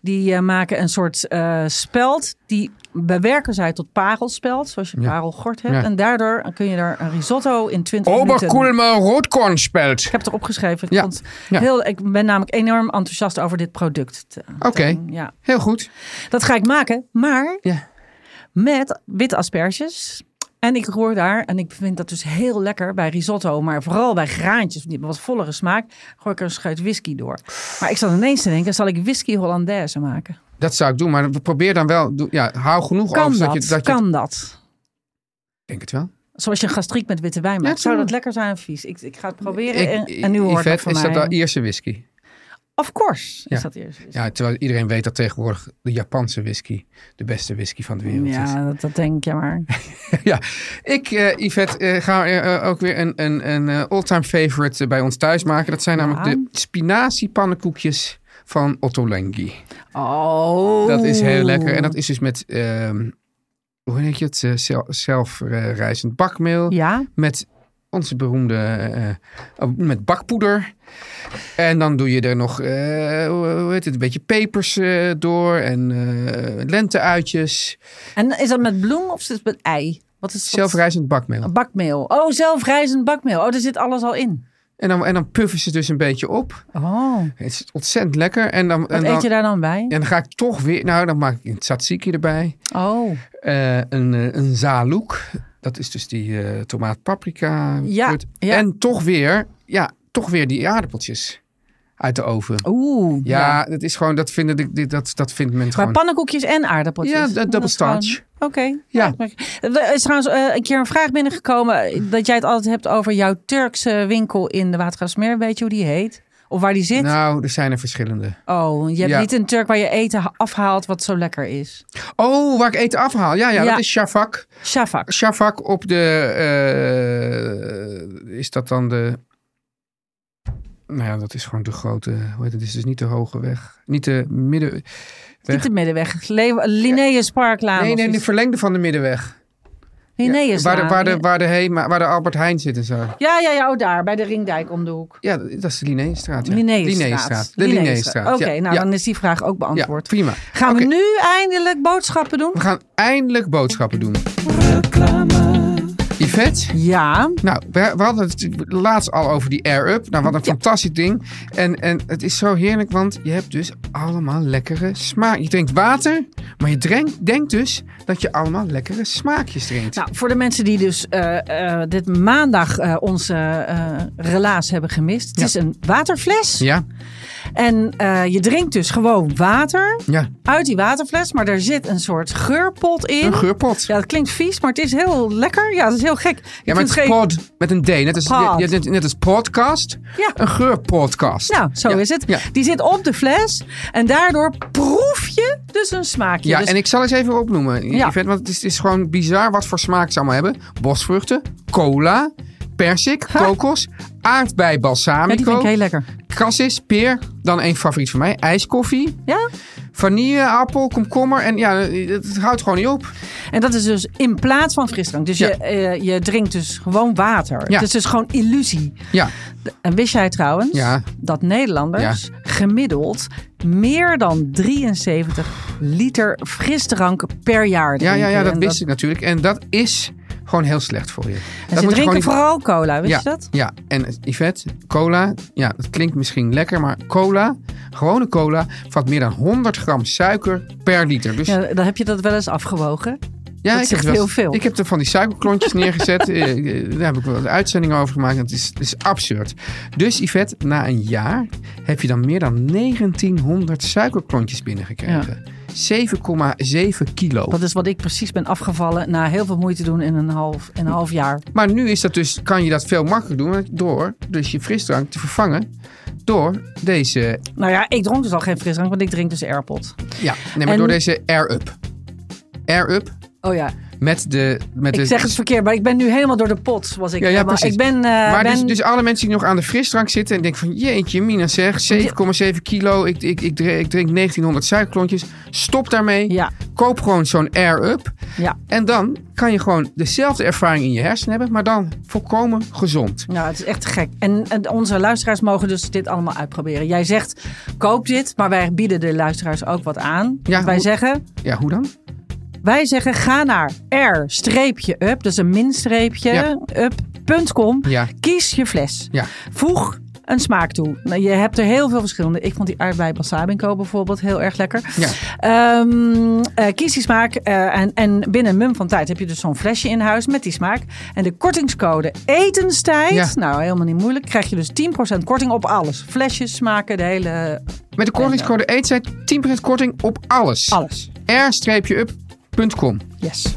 Speaker 5: Die eh, maken een soort eh, speld. Die bewerken zij tot parelspeld, zoals je parelgort hebt.
Speaker 4: Ja.
Speaker 5: En daardoor kun je er een risotto in 20 minuten...
Speaker 4: Oberkulmer roodkornspelt.
Speaker 5: Ik heb het erop geschreven. Ik,
Speaker 4: Ja.
Speaker 5: vond
Speaker 4: Ja.
Speaker 5: Heel, ik ben namelijk enorm enthousiast over dit product.
Speaker 4: Oké,
Speaker 5: Ja,
Speaker 4: heel goed.
Speaker 5: dat ga ik maken, maar
Speaker 4: Ja.
Speaker 5: met witte asperges. En ik roer daar, en ik vind dat dus heel lekker bij risotto, maar vooral bij graantjes, die hebben wat vollere smaak, gooi ik er een scheut whisky door. Maar ik zat ineens te denken, zal ik whisky Hollandaise maken?
Speaker 4: Dat zou ik doen, maar probeer dan wel. doe- Ja, hou genoeg
Speaker 5: Kan
Speaker 4: over
Speaker 5: dat?
Speaker 4: je. Oh, dus Dat je
Speaker 5: kan dat?
Speaker 4: Ik denk het wel.
Speaker 5: Zoals je een gastriek met witte wijn maakt. Zou dat
Speaker 4: tuurlijk.
Speaker 5: lekker zijn of vies? Ik, ik ga het proberen
Speaker 4: Ik-
Speaker 5: en, en nu hoort dat
Speaker 4: Yvette,
Speaker 5: van
Speaker 4: is
Speaker 5: mij.
Speaker 4: dat de Ierse whisky?
Speaker 5: Of course is
Speaker 4: Ja.
Speaker 5: dat eerst. whisky.
Speaker 4: Ja, terwijl iedereen weet dat tegenwoordig de Japanse whisky de beste whisky van de wereld is.
Speaker 5: Ja, dat, dat denk je maar.
Speaker 4: ja, ik, eh, Yvette, eh, ga eh, eh, ook weer een, een, een eh, all-time favorite eh, bij ons thuis maken. Dat zijn
Speaker 5: Ja.
Speaker 4: namelijk de spinaziepannenkoekjes van Otto Lengi.
Speaker 5: Oh.
Speaker 4: Dat is heel lekker. En dat is dus met, ehm, hoe heet je het, Eh, zel- zelfrijzend bakmeel.
Speaker 5: Oh. Ja,
Speaker 4: Met onze beroemde, eh, eh, met bakpoeder. En dan doe je er nog, eh, hoe hoe heet het, een beetje pepers eh, door en eh, lenteuitjes.
Speaker 5: en is dat met bloem of is het met ei? Wat is wat-
Speaker 4: Zelfrijzend bakmeel.
Speaker 5: Bakmeel. Oh, zelfrijzend bakmeel. Oh, daar zit alles al in.
Speaker 4: En dan, en dan puffen ze dus een beetje op.
Speaker 5: Oh.
Speaker 4: Het is ontzettend lekker. En dan,
Speaker 5: Wat
Speaker 4: en dan,
Speaker 5: eet je daar dan bij?
Speaker 4: en dan ga ik toch weer, nou dan maak ik een tzatziki erbij.
Speaker 5: Oh.
Speaker 4: Eh, een, eh, een zalouk. Dat is dus die eh, tomaat paprika.
Speaker 5: Ja,
Speaker 4: fruit.
Speaker 5: ja.
Speaker 4: En toch weer, ja, toch weer die aardappeltjes uit de oven.
Speaker 5: Oeh.
Speaker 4: ja, dat is gewoon, dat vinden de- die- dat, dat vindt men
Speaker 5: Maar
Speaker 4: gewoon.
Speaker 5: pannenkoekjes en aardappeltjes.
Speaker 4: Ja,
Speaker 5: Dat
Speaker 4: d-
Speaker 5: is
Speaker 4: double
Speaker 5: gewoon-
Speaker 4: starch.
Speaker 5: Oké.
Speaker 4: Ja.
Speaker 5: Er is trouwens eh, een keer een vraag binnengekomen. eh, Dat jij het altijd hebt over jouw Turkse winkel in de Watergraafsmeer. Weet je hoe die heet? Of waar die zit?
Speaker 4: Nou, er zijn er verschillende.
Speaker 5: oh, je hebt
Speaker 4: ja.
Speaker 5: niet een Turk waar je eten ha- afhaalt wat zo lekker is.
Speaker 4: Oh, waar ik eten afhaal. Ja, ja,
Speaker 5: Ja.
Speaker 4: dat is Shavak.
Speaker 5: Shafak.
Speaker 4: Shavak op de, eh, is dat dan de, nou ja, dat is gewoon de grote, hoe heet het, is dus niet de hoge weg. Niet de midden,
Speaker 5: Niet de middenweg. Le- Linnaeus Parklaan.
Speaker 4: nee,
Speaker 5: of
Speaker 4: nee, de
Speaker 5: iets.
Speaker 4: verlengde van de middenweg.
Speaker 5: Linnaeuslaan.
Speaker 4: waar, de, waar, de, waar, de Hema- waar de Albert Heijn zit en zo.
Speaker 5: Ja, ja, ja. Oh, daar. Bij de Ringdijk om de hoek.
Speaker 4: Ja, dat is de Linnéestraat. Ja.
Speaker 5: Linnéestraat.
Speaker 4: De
Speaker 5: Linnéestraat.
Speaker 4: Linnéestraat.
Speaker 5: Oké,
Speaker 4: ja.
Speaker 5: nou
Speaker 4: ja.
Speaker 5: dan is die vraag ook beantwoord.
Speaker 4: Ja, prima.
Speaker 5: Gaan
Speaker 4: Oké.
Speaker 5: we nu eindelijk boodschappen doen?
Speaker 4: We gaan eindelijk boodschappen doen. Yvette?
Speaker 5: Ja,
Speaker 4: Nou, we, we hadden het laatst al over die Air Up. Nou, wat een fantastisch ding. En, en het is zo heerlijk, want je hebt dus allemaal lekkere smaak. Je drinkt water, maar je drenk- denkt dus dat je allemaal lekkere smaakjes drinkt.
Speaker 5: nou voor de mensen die dus eh, eh, dit maandag eh, onze eh, relaas hebben gemist. Het
Speaker 4: Ja.
Speaker 5: is een waterfles
Speaker 4: Ja,
Speaker 5: en eh, je drinkt dus gewoon water
Speaker 4: ja.
Speaker 5: uit die waterfles. Maar er zit een soort geurpot in.
Speaker 4: Een geurpot.
Speaker 5: Ja, dat klinkt vies, maar het is heel lekker. Ja, dat is heel gek. Je
Speaker 4: Ja, maar
Speaker 5: kunt
Speaker 4: het is pod met een D. Net als,
Speaker 5: Pod.
Speaker 4: net, net als podcast.
Speaker 5: Ja.
Speaker 4: Een geurpodcast.
Speaker 5: Nou, zo
Speaker 4: Ja,
Speaker 5: is het.
Speaker 4: Ja,
Speaker 5: Die zit op de fles en daardoor proef je dus een smaakje.
Speaker 4: ja
Speaker 5: Dus-
Speaker 4: en ik zal eens even opnoemen,
Speaker 5: Ja.
Speaker 4: Yvette, want het is, het is gewoon bizar wat voor smaak ze allemaal hebben. Bosvruchten, cola, persik, kokos, aardbei
Speaker 5: ja, die
Speaker 4: balsamico,
Speaker 5: vind ik heel lekker.
Speaker 4: kras is, peer, dan één favoriet van mij, ijskoffie,
Speaker 5: Ja?
Speaker 4: vanille, appel, komkommer. En ja, het, het houdt gewoon niet op.
Speaker 5: En dat is dus in plaats van frisdrank. Dus
Speaker 4: Ja.
Speaker 5: je, eh, je drinkt dus gewoon water.
Speaker 4: Ja.
Speaker 5: Het is dus gewoon illusie.
Speaker 4: Ja,
Speaker 5: En wist jij trouwens
Speaker 4: Ja.
Speaker 5: dat Nederlanders gemiddeld meer dan 73 liter frisdrank per jaar
Speaker 4: ja,
Speaker 5: drinken?
Speaker 4: ja, ja dat
Speaker 5: En
Speaker 4: wist ik natuurlijk. En dat is gewoon heel slecht voor je.
Speaker 5: en
Speaker 4: Dat
Speaker 5: ze
Speaker 4: moet je
Speaker 5: drinken
Speaker 4: gewoon niet-
Speaker 5: vooral cola, wist
Speaker 4: ja,
Speaker 5: je dat?
Speaker 4: Ja, en eh, Yvette, cola, ja, dat klinkt misschien lekker, maar cola, gewone cola, vat meer dan 100 gram suiker per liter. Dus
Speaker 5: Ja, dan heb je dat wel eens afgewogen.
Speaker 4: Ja,
Speaker 5: Dat zegt
Speaker 4: wel-
Speaker 5: heel veel.
Speaker 4: Ik heb er van die suikerklontjes neergezet. Eh, eh, daar heb ik wel een uitzending over gemaakt. Dat is, dat is absurd. Dus Yvette, na een jaar heb je dan meer dan 1900 suikerklontjes binnengekregen. 7,7 kilo.
Speaker 5: Dat is wat ik precies ben afgevallen na heel veel moeite doen in een half, in een half jaar.
Speaker 4: Maar nu is dat dus, kan je dat veel makkelijker doen door dus je frisdrank te vervangen door deze,
Speaker 5: Nou ja, ik dronk dus al geen frisdrank, want ik drink dus Airpod.
Speaker 4: ja, nee, maar
Speaker 5: En-
Speaker 4: door deze Air Up. Air Up
Speaker 5: Oh ja,
Speaker 4: met de... Met
Speaker 5: ik
Speaker 4: de,
Speaker 5: zeg het verkeerd, maar ik ben nu helemaal door de pot. Was ik,
Speaker 4: Ja, ja,
Speaker 5: helemaal-
Speaker 4: precies.
Speaker 5: ik ben, eh,
Speaker 4: maar
Speaker 5: ben
Speaker 4: dus, dus alle mensen die nog aan de frisdrank zitten en denken van jeetje mina zeg, 7,7 kilo, ik, ik, ik, dre- ik drink 1900 suikerklontjes. Stop daarmee.
Speaker 5: Ja.
Speaker 4: Koop gewoon zo'n Air Up.
Speaker 5: Ja.
Speaker 4: En dan kan je gewoon dezelfde ervaring in je hersenen hebben, maar dan volkomen gezond.
Speaker 5: Nou, het is echt te gek. En, en onze luisteraars mogen dus dit allemaal uitproberen. Jij zegt, koop dit, maar wij bieden de luisteraars ook wat aan.
Speaker 4: Ja,
Speaker 5: Want wij,
Speaker 4: hoe-
Speaker 5: zeggen,
Speaker 4: Ja, hoe dan?
Speaker 5: wij zeggen, ga naar r-up, dus een minstreepje,
Speaker 4: Ja.
Speaker 5: up.com.
Speaker 4: Ja.
Speaker 5: Kies je fles.
Speaker 4: Ja.
Speaker 5: Voeg een smaak toe. Nou, je hebt er heel veel verschillende. Ik vond die aardbei balsamico bijvoorbeeld heel erg lekker.
Speaker 4: Ja.
Speaker 5: Ehm, eh, kies die smaak. eh, en, en binnen een mum van tijd heb je dus zo'n flesje in huis met die smaak. En de kortingscode etenstijd.
Speaker 4: Ja.
Speaker 5: Nou, helemaal niet moeilijk. Krijg je dus 10% korting op alles. Flesjes, smaken, de hele...
Speaker 4: Met de kortingscode eetzijd 10% korting op alles.
Speaker 5: Alles.
Speaker 4: R-up.com.
Speaker 5: Yes.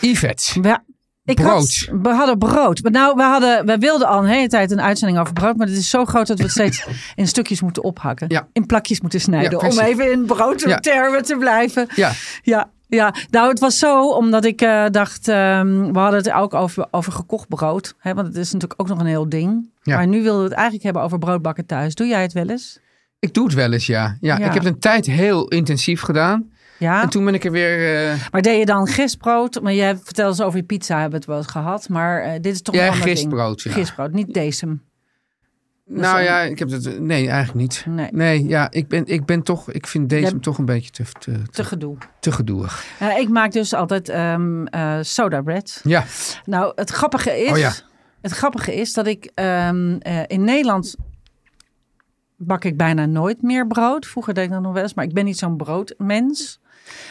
Speaker 4: Yvette.
Speaker 5: Ja. Ik
Speaker 4: Brood.
Speaker 5: Had, we hadden brood. Maar nou, we, hadden, we wilden al een hele tijd een uitzending over brood. Maar het is zo groot dat we het steeds in stukjes moeten ophakken.
Speaker 4: Ja.
Speaker 5: In plakjes moeten
Speaker 4: Ja,
Speaker 5: snijden. om
Speaker 4: precies.
Speaker 5: even in
Speaker 4: Ja.
Speaker 5: broodtermen te blijven.
Speaker 4: Ja.
Speaker 5: Ja, ja, nou het was zo omdat ik eh, dacht, ehm, we hadden het ook over, over gekocht brood. Hè, want het is natuurlijk ook nog een heel ding.
Speaker 4: Ja.
Speaker 5: Maar nu wilden we het eigenlijk hebben over broodbakken thuis. Doe jij het wel eens?
Speaker 4: Ik doe het wel eens, ja. ja.
Speaker 5: Ja. Ah.
Speaker 4: Ik heb het een tijd heel intensief gedaan.
Speaker 5: Ja,
Speaker 4: En toen ben ik er weer... eh,
Speaker 5: maar deed je dan gistbrood? Maar jij vertelde eens over je pizza, hebben we het wel eens gehad. Maar eh, dit is toch
Speaker 4: Ja,
Speaker 5: een ander
Speaker 4: gistbrood, ja.
Speaker 5: ding. Gistbrood, niet decem.
Speaker 4: Nou
Speaker 5: een-
Speaker 4: ja, ik heb dat. Nee, eigenlijk niet.
Speaker 5: Nee.
Speaker 4: ja, ik ben, ik ben toch. Ik vind deze
Speaker 5: Jij-
Speaker 4: toch een beetje te, te,
Speaker 5: Te
Speaker 4: te,
Speaker 5: gedoe.
Speaker 4: te gedoelig.
Speaker 5: Eh, ik maak dus altijd ehm eh soda bread.
Speaker 4: Ja,
Speaker 5: Nou, het grappige is,
Speaker 4: Oh ja.
Speaker 5: het grappige is dat ik ehm, eh, in Nederland bak ik bijna nooit meer brood. Vroeger deed ik dat nog wel eens, maar ik ben niet zo'n broodmens.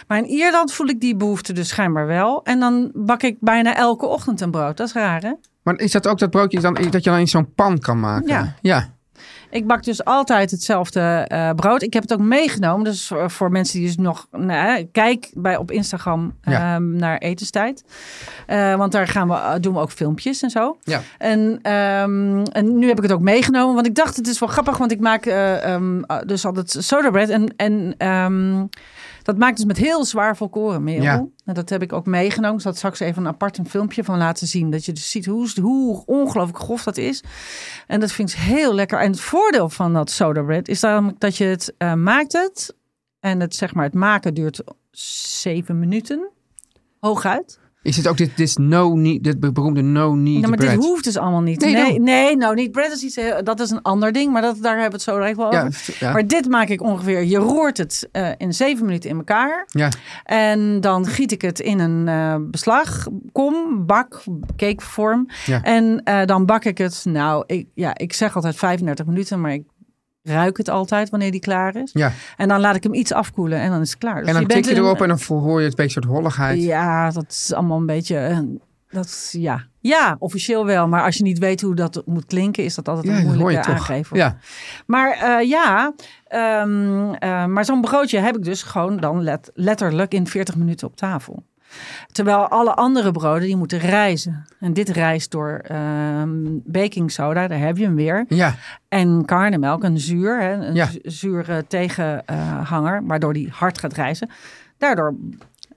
Speaker 5: Maar in Ierland voel ik die behoefte dus schijnbaar wel. En dan bak ik bijna elke ochtend een brood. Dat is raar, hè?
Speaker 4: maar is dat ook dat broodje dan, dat je dan in zo'n pan kan maken?
Speaker 5: Ja.
Speaker 4: ja.
Speaker 5: Ik bak dus altijd hetzelfde eh, brood. Ik heb het ook meegenomen. Dus voor, voor mensen die dus nog... Nou, hè, kijk bij, op Instagram
Speaker 4: Ja.
Speaker 5: ehm, naar etenstijd. Eh, want daar gaan we, eh, doen we ook filmpjes en zo.
Speaker 4: Ja.
Speaker 5: En, ehm, en nu heb ik het ook meegenomen. Want ik dacht, het is wel grappig. Want ik maak eh, ehm, ah, dus altijd soda bread. En, en ehm, dat maakt dus met heel zwaar volkorenmeel.
Speaker 4: Ja.
Speaker 5: En dat heb ik ook meegenomen. Ik zal het straks even een apart een filmpje van laten zien. Dat je dus ziet hoe, hoe ongelooflijk grof dat is. En dat vind ik heel lekker. En het voordeel van dat soda bread is namelijk dat je het eh, maakt het. En het, zeg maar, het maken duurt zeven minuten. Hooguit.
Speaker 4: Is het ook dit, dit, no need, dit beroemde no need
Speaker 5: Ja, maar
Speaker 4: bread?
Speaker 5: dit hoeft dus allemaal niet.
Speaker 4: Nee,
Speaker 5: Nee, nee,
Speaker 4: dan-
Speaker 5: nou niet. Bread is iets, heel- dat is een ander ding, maar dat, daar hebben we het zo direct wel
Speaker 4: Ja,
Speaker 5: over.
Speaker 4: het- ja.
Speaker 5: Maar dit maak ik ongeveer. Je roert het eh, in zeven minuten in elkaar.
Speaker 4: Ja,
Speaker 5: En dan giet ik het in een eh, beslag, kom, bak, cakevorm.
Speaker 4: Ja.
Speaker 5: En eh, dan bak ik het, nou, ik, ja, ik zeg altijd 35 minuten, maar ik ruik het altijd wanneer die klaar is.
Speaker 4: ja.
Speaker 5: En dan laat ik hem iets afkoelen en dan is het klaar. Dus
Speaker 4: En dan
Speaker 5: je bent
Speaker 4: tik je
Speaker 5: in-
Speaker 4: erop en dan hoor je het beetje soort holligheid.
Speaker 5: ja, dat is allemaal een beetje. eh, Dat, is- ja. ja, officieel wel. Maar als je niet weet hoe dat moet klinken, is dat altijd
Speaker 4: Ja,
Speaker 5: een
Speaker 4: dat hoor je
Speaker 5: moeilijke
Speaker 4: toch.
Speaker 5: aangever.
Speaker 4: Ja,
Speaker 5: Maar eh, ja, ehm, eh, maar zo'n broodje heb ik dus gewoon dan let, letterlijk in 40 minuten op tafel. Terwijl alle andere broden die moeten rijzen. En dit rijst door ehm, baking soda, daar heb je hem weer.
Speaker 4: ja.
Speaker 5: En karnemelk, een zuur, hè, een
Speaker 4: Ja.
Speaker 5: zu- zure tegenhanger, waardoor die hard gaat rijzen. Daardoor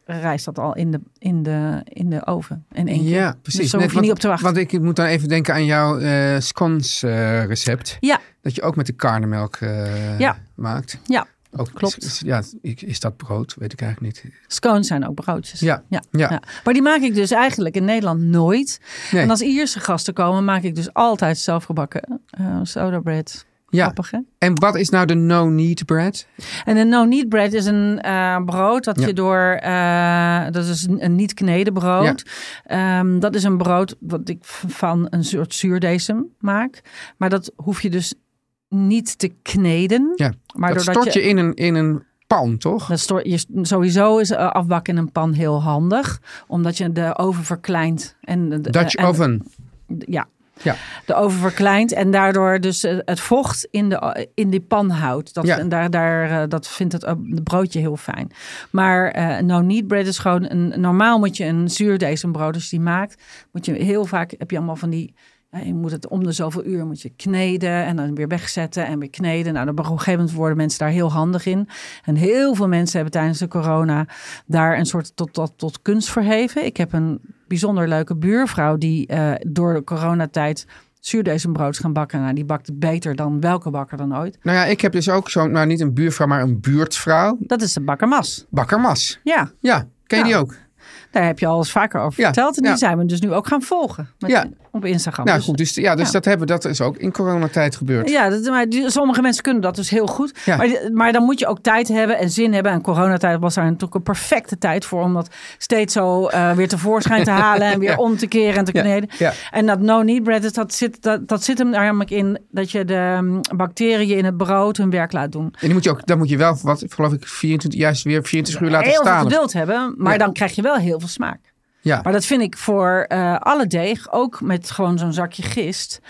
Speaker 5: rijst dat al in de, in de, in de oven. In één keer.
Speaker 4: Ja, precies.
Speaker 5: Dus daar hoef je
Speaker 4: want-
Speaker 5: niet op te wachten.
Speaker 4: Want ik moet dan even denken aan jouw eh scones eh, recept.
Speaker 5: Ja.
Speaker 4: Dat je ook met de karnemelk eh,
Speaker 5: Ja.
Speaker 4: maakt.
Speaker 5: Ja,
Speaker 4: Ook,
Speaker 5: klopt.
Speaker 4: Is, is- ja, ik- is dat brood? Weet ik eigenlijk niet.
Speaker 5: Scones zijn ook broodjes.
Speaker 4: Ja,
Speaker 5: Ja,
Speaker 4: ja.
Speaker 5: ja. Maar die maak ik dus eigenlijk in Nederland nooit.
Speaker 4: Nee.
Speaker 5: En als Ierse gasten komen, maak ik dus altijd zelfgebakken eh soda bread.
Speaker 4: Ja.
Speaker 5: Grappig, hè?
Speaker 4: En wat is nou de no-need bread?
Speaker 5: En een no-knead bread is een eh, brood dat
Speaker 4: Ja.
Speaker 5: je door... eh, dat is een, een niet kneden brood. Ehm, dat is een brood wat ik v- van een soort zuurdesem maak. Maar dat hoef je dus niet te kneden.
Speaker 4: Ja,
Speaker 5: Maar
Speaker 4: dat
Speaker 5: doordat
Speaker 4: stort je, in, een, in een pan, toch?
Speaker 5: Dat stort je, sowieso is eh, afbakken in een pan heel handig. Omdat je de oven verkleint. En, de-
Speaker 4: Dutch
Speaker 5: en-
Speaker 4: oven.
Speaker 5: ja.
Speaker 4: Ja.
Speaker 5: De oven verkleint en daardoor dus eh, het vocht in, de, in die pan houdt. Dat,
Speaker 4: Ja.
Speaker 5: en daar, daar, eh, dat vindt het eh, broodje heel fijn. Maar eh no niet bread is gewoon... Een, normaal moet je een zuurdesembrood, dus die maakt... Moet je heel vaak, heb je allemaal van die... ja, Je moet het om de zoveel uur moet je kneden en dan weer wegzetten en weer kneden. Nou, dan op een gegeven moment worden mensen daar heel handig in. En heel veel mensen hebben tijdens de corona daar een soort tot, tot, tot kunst verheven. Ik heb een bijzonder leuke buurvrouw die eh, door de coronatijd zuurdesembrood gaan bakken. Nou, die bakt het beter dan welke bakker dan ooit.
Speaker 4: Nou ja, ik heb dus ook zo'n, nou niet een buurvrouw, maar een buurtvrouw.
Speaker 5: Dat is de bakkermas.
Speaker 4: Bakkermas.
Speaker 5: Ja,
Speaker 4: Ja, ken je
Speaker 5: Ja.
Speaker 4: die ook?
Speaker 5: daar heb je al eens vaker over
Speaker 4: Ja,
Speaker 5: verteld. En die
Speaker 4: ja.
Speaker 5: zijn we dus nu ook gaan volgen met,
Speaker 4: Ja.
Speaker 5: op Instagram.
Speaker 4: Nou
Speaker 5: Dus-
Speaker 4: goed, dus, ja, dus
Speaker 5: ja.
Speaker 4: Dat, hebben, dat is ook in coronatijd gebeurd.
Speaker 5: Ja, dat, maar die- sommige mensen kunnen dat dus heel goed.
Speaker 4: Ja.
Speaker 5: Maar, die- maar dan moet je ook tijd hebben en zin hebben. En coronatijd was daar natuurlijk een perfecte tijd voor. Om dat steeds zo eh, weer tevoorschijn te halen. En weer om te keren en te
Speaker 4: Ja,
Speaker 5: kneden.
Speaker 4: ja.
Speaker 5: En dat no-need bread, dus dat zit, dat, dat zit hem namelijk in. Dat je de mm, bacteriën in het brood hun werk laat doen.
Speaker 4: En die moet je ook, dan moet je wel, wat, geloof ik, 24, juist weer 24 uur laten
Speaker 5: heel
Speaker 4: staan.
Speaker 5: veel geduld hebben. Maar
Speaker 4: Ja.
Speaker 5: dan krijg je wel heel veel smaak.
Speaker 4: Ja.
Speaker 5: Maar dat vind ik voor eh, alle deeg, ook met gewoon zo'n zakje gist,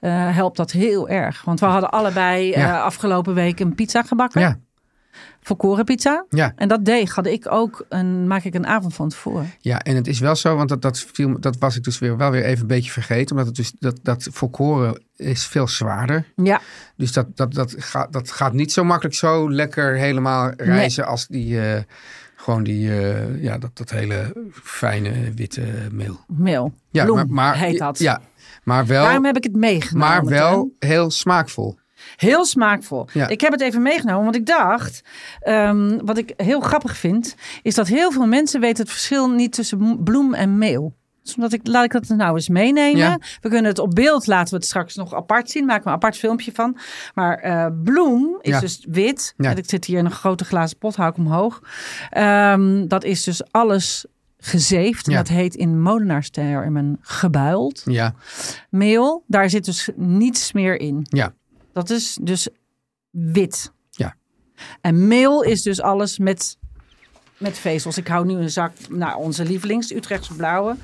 Speaker 5: eh, helpt dat heel erg. Want we hadden allebei
Speaker 4: Ja.
Speaker 5: eh, afgelopen week een pizza gebakken.
Speaker 4: ja,
Speaker 5: volkoren pizza.
Speaker 4: ja,
Speaker 5: En dat deeg had ik ook een, maak ik een avond van tevoren.
Speaker 4: ja. En het is wel zo, want dat, dat, viel, dat was ik dus weer, wel weer even een beetje vergeten. Omdat het dus, dat, dat volkoren is veel zwaarder.
Speaker 5: Ja,
Speaker 4: Dus dat, dat, dat, gaat, dat gaat niet zo makkelijk zo lekker helemaal rijzen als die, eh, gewoon die, eh, ja, dat, dat hele fijne witte meel.
Speaker 5: meel.
Speaker 4: Ja,
Speaker 5: Bloem
Speaker 4: maar, maar,
Speaker 5: heet dat.
Speaker 4: Ja, maar wel,
Speaker 5: Daarom heb ik het meegenomen.
Speaker 4: maar wel
Speaker 5: Teun.
Speaker 4: heel smaakvol.
Speaker 5: Heel smaakvol.
Speaker 4: Ja.
Speaker 5: Ik heb het even meegenomen, want ik dacht... ehm, wat ik heel grappig vind... is dat heel veel mensen weten het verschil niet tussen m- bloem en meel. Dus omdat ik, laat ik dat nou eens meenemen.
Speaker 4: Ja.
Speaker 5: We kunnen het op beeld, laten we het straks nog apart zien. Maken we een apart filmpje van. Maar eh, bloem is
Speaker 4: Ja.
Speaker 5: dus wit.
Speaker 4: Ja.
Speaker 5: En ik zit hier in een grote glazen pot, hou ik omhoog. Ehm, dat is dus alles gezeefd. En
Speaker 4: Ja.
Speaker 5: dat heet in molenaarstermen gebuild.
Speaker 4: Ja,
Speaker 5: Meel, daar zit dus niets meer in.
Speaker 4: ja,
Speaker 5: Dat is dus wit.
Speaker 4: Ja.
Speaker 5: En meel is dus alles met, met vezels. Ik hou nu een zak naar onze lievelings, Utrechtse blauwe.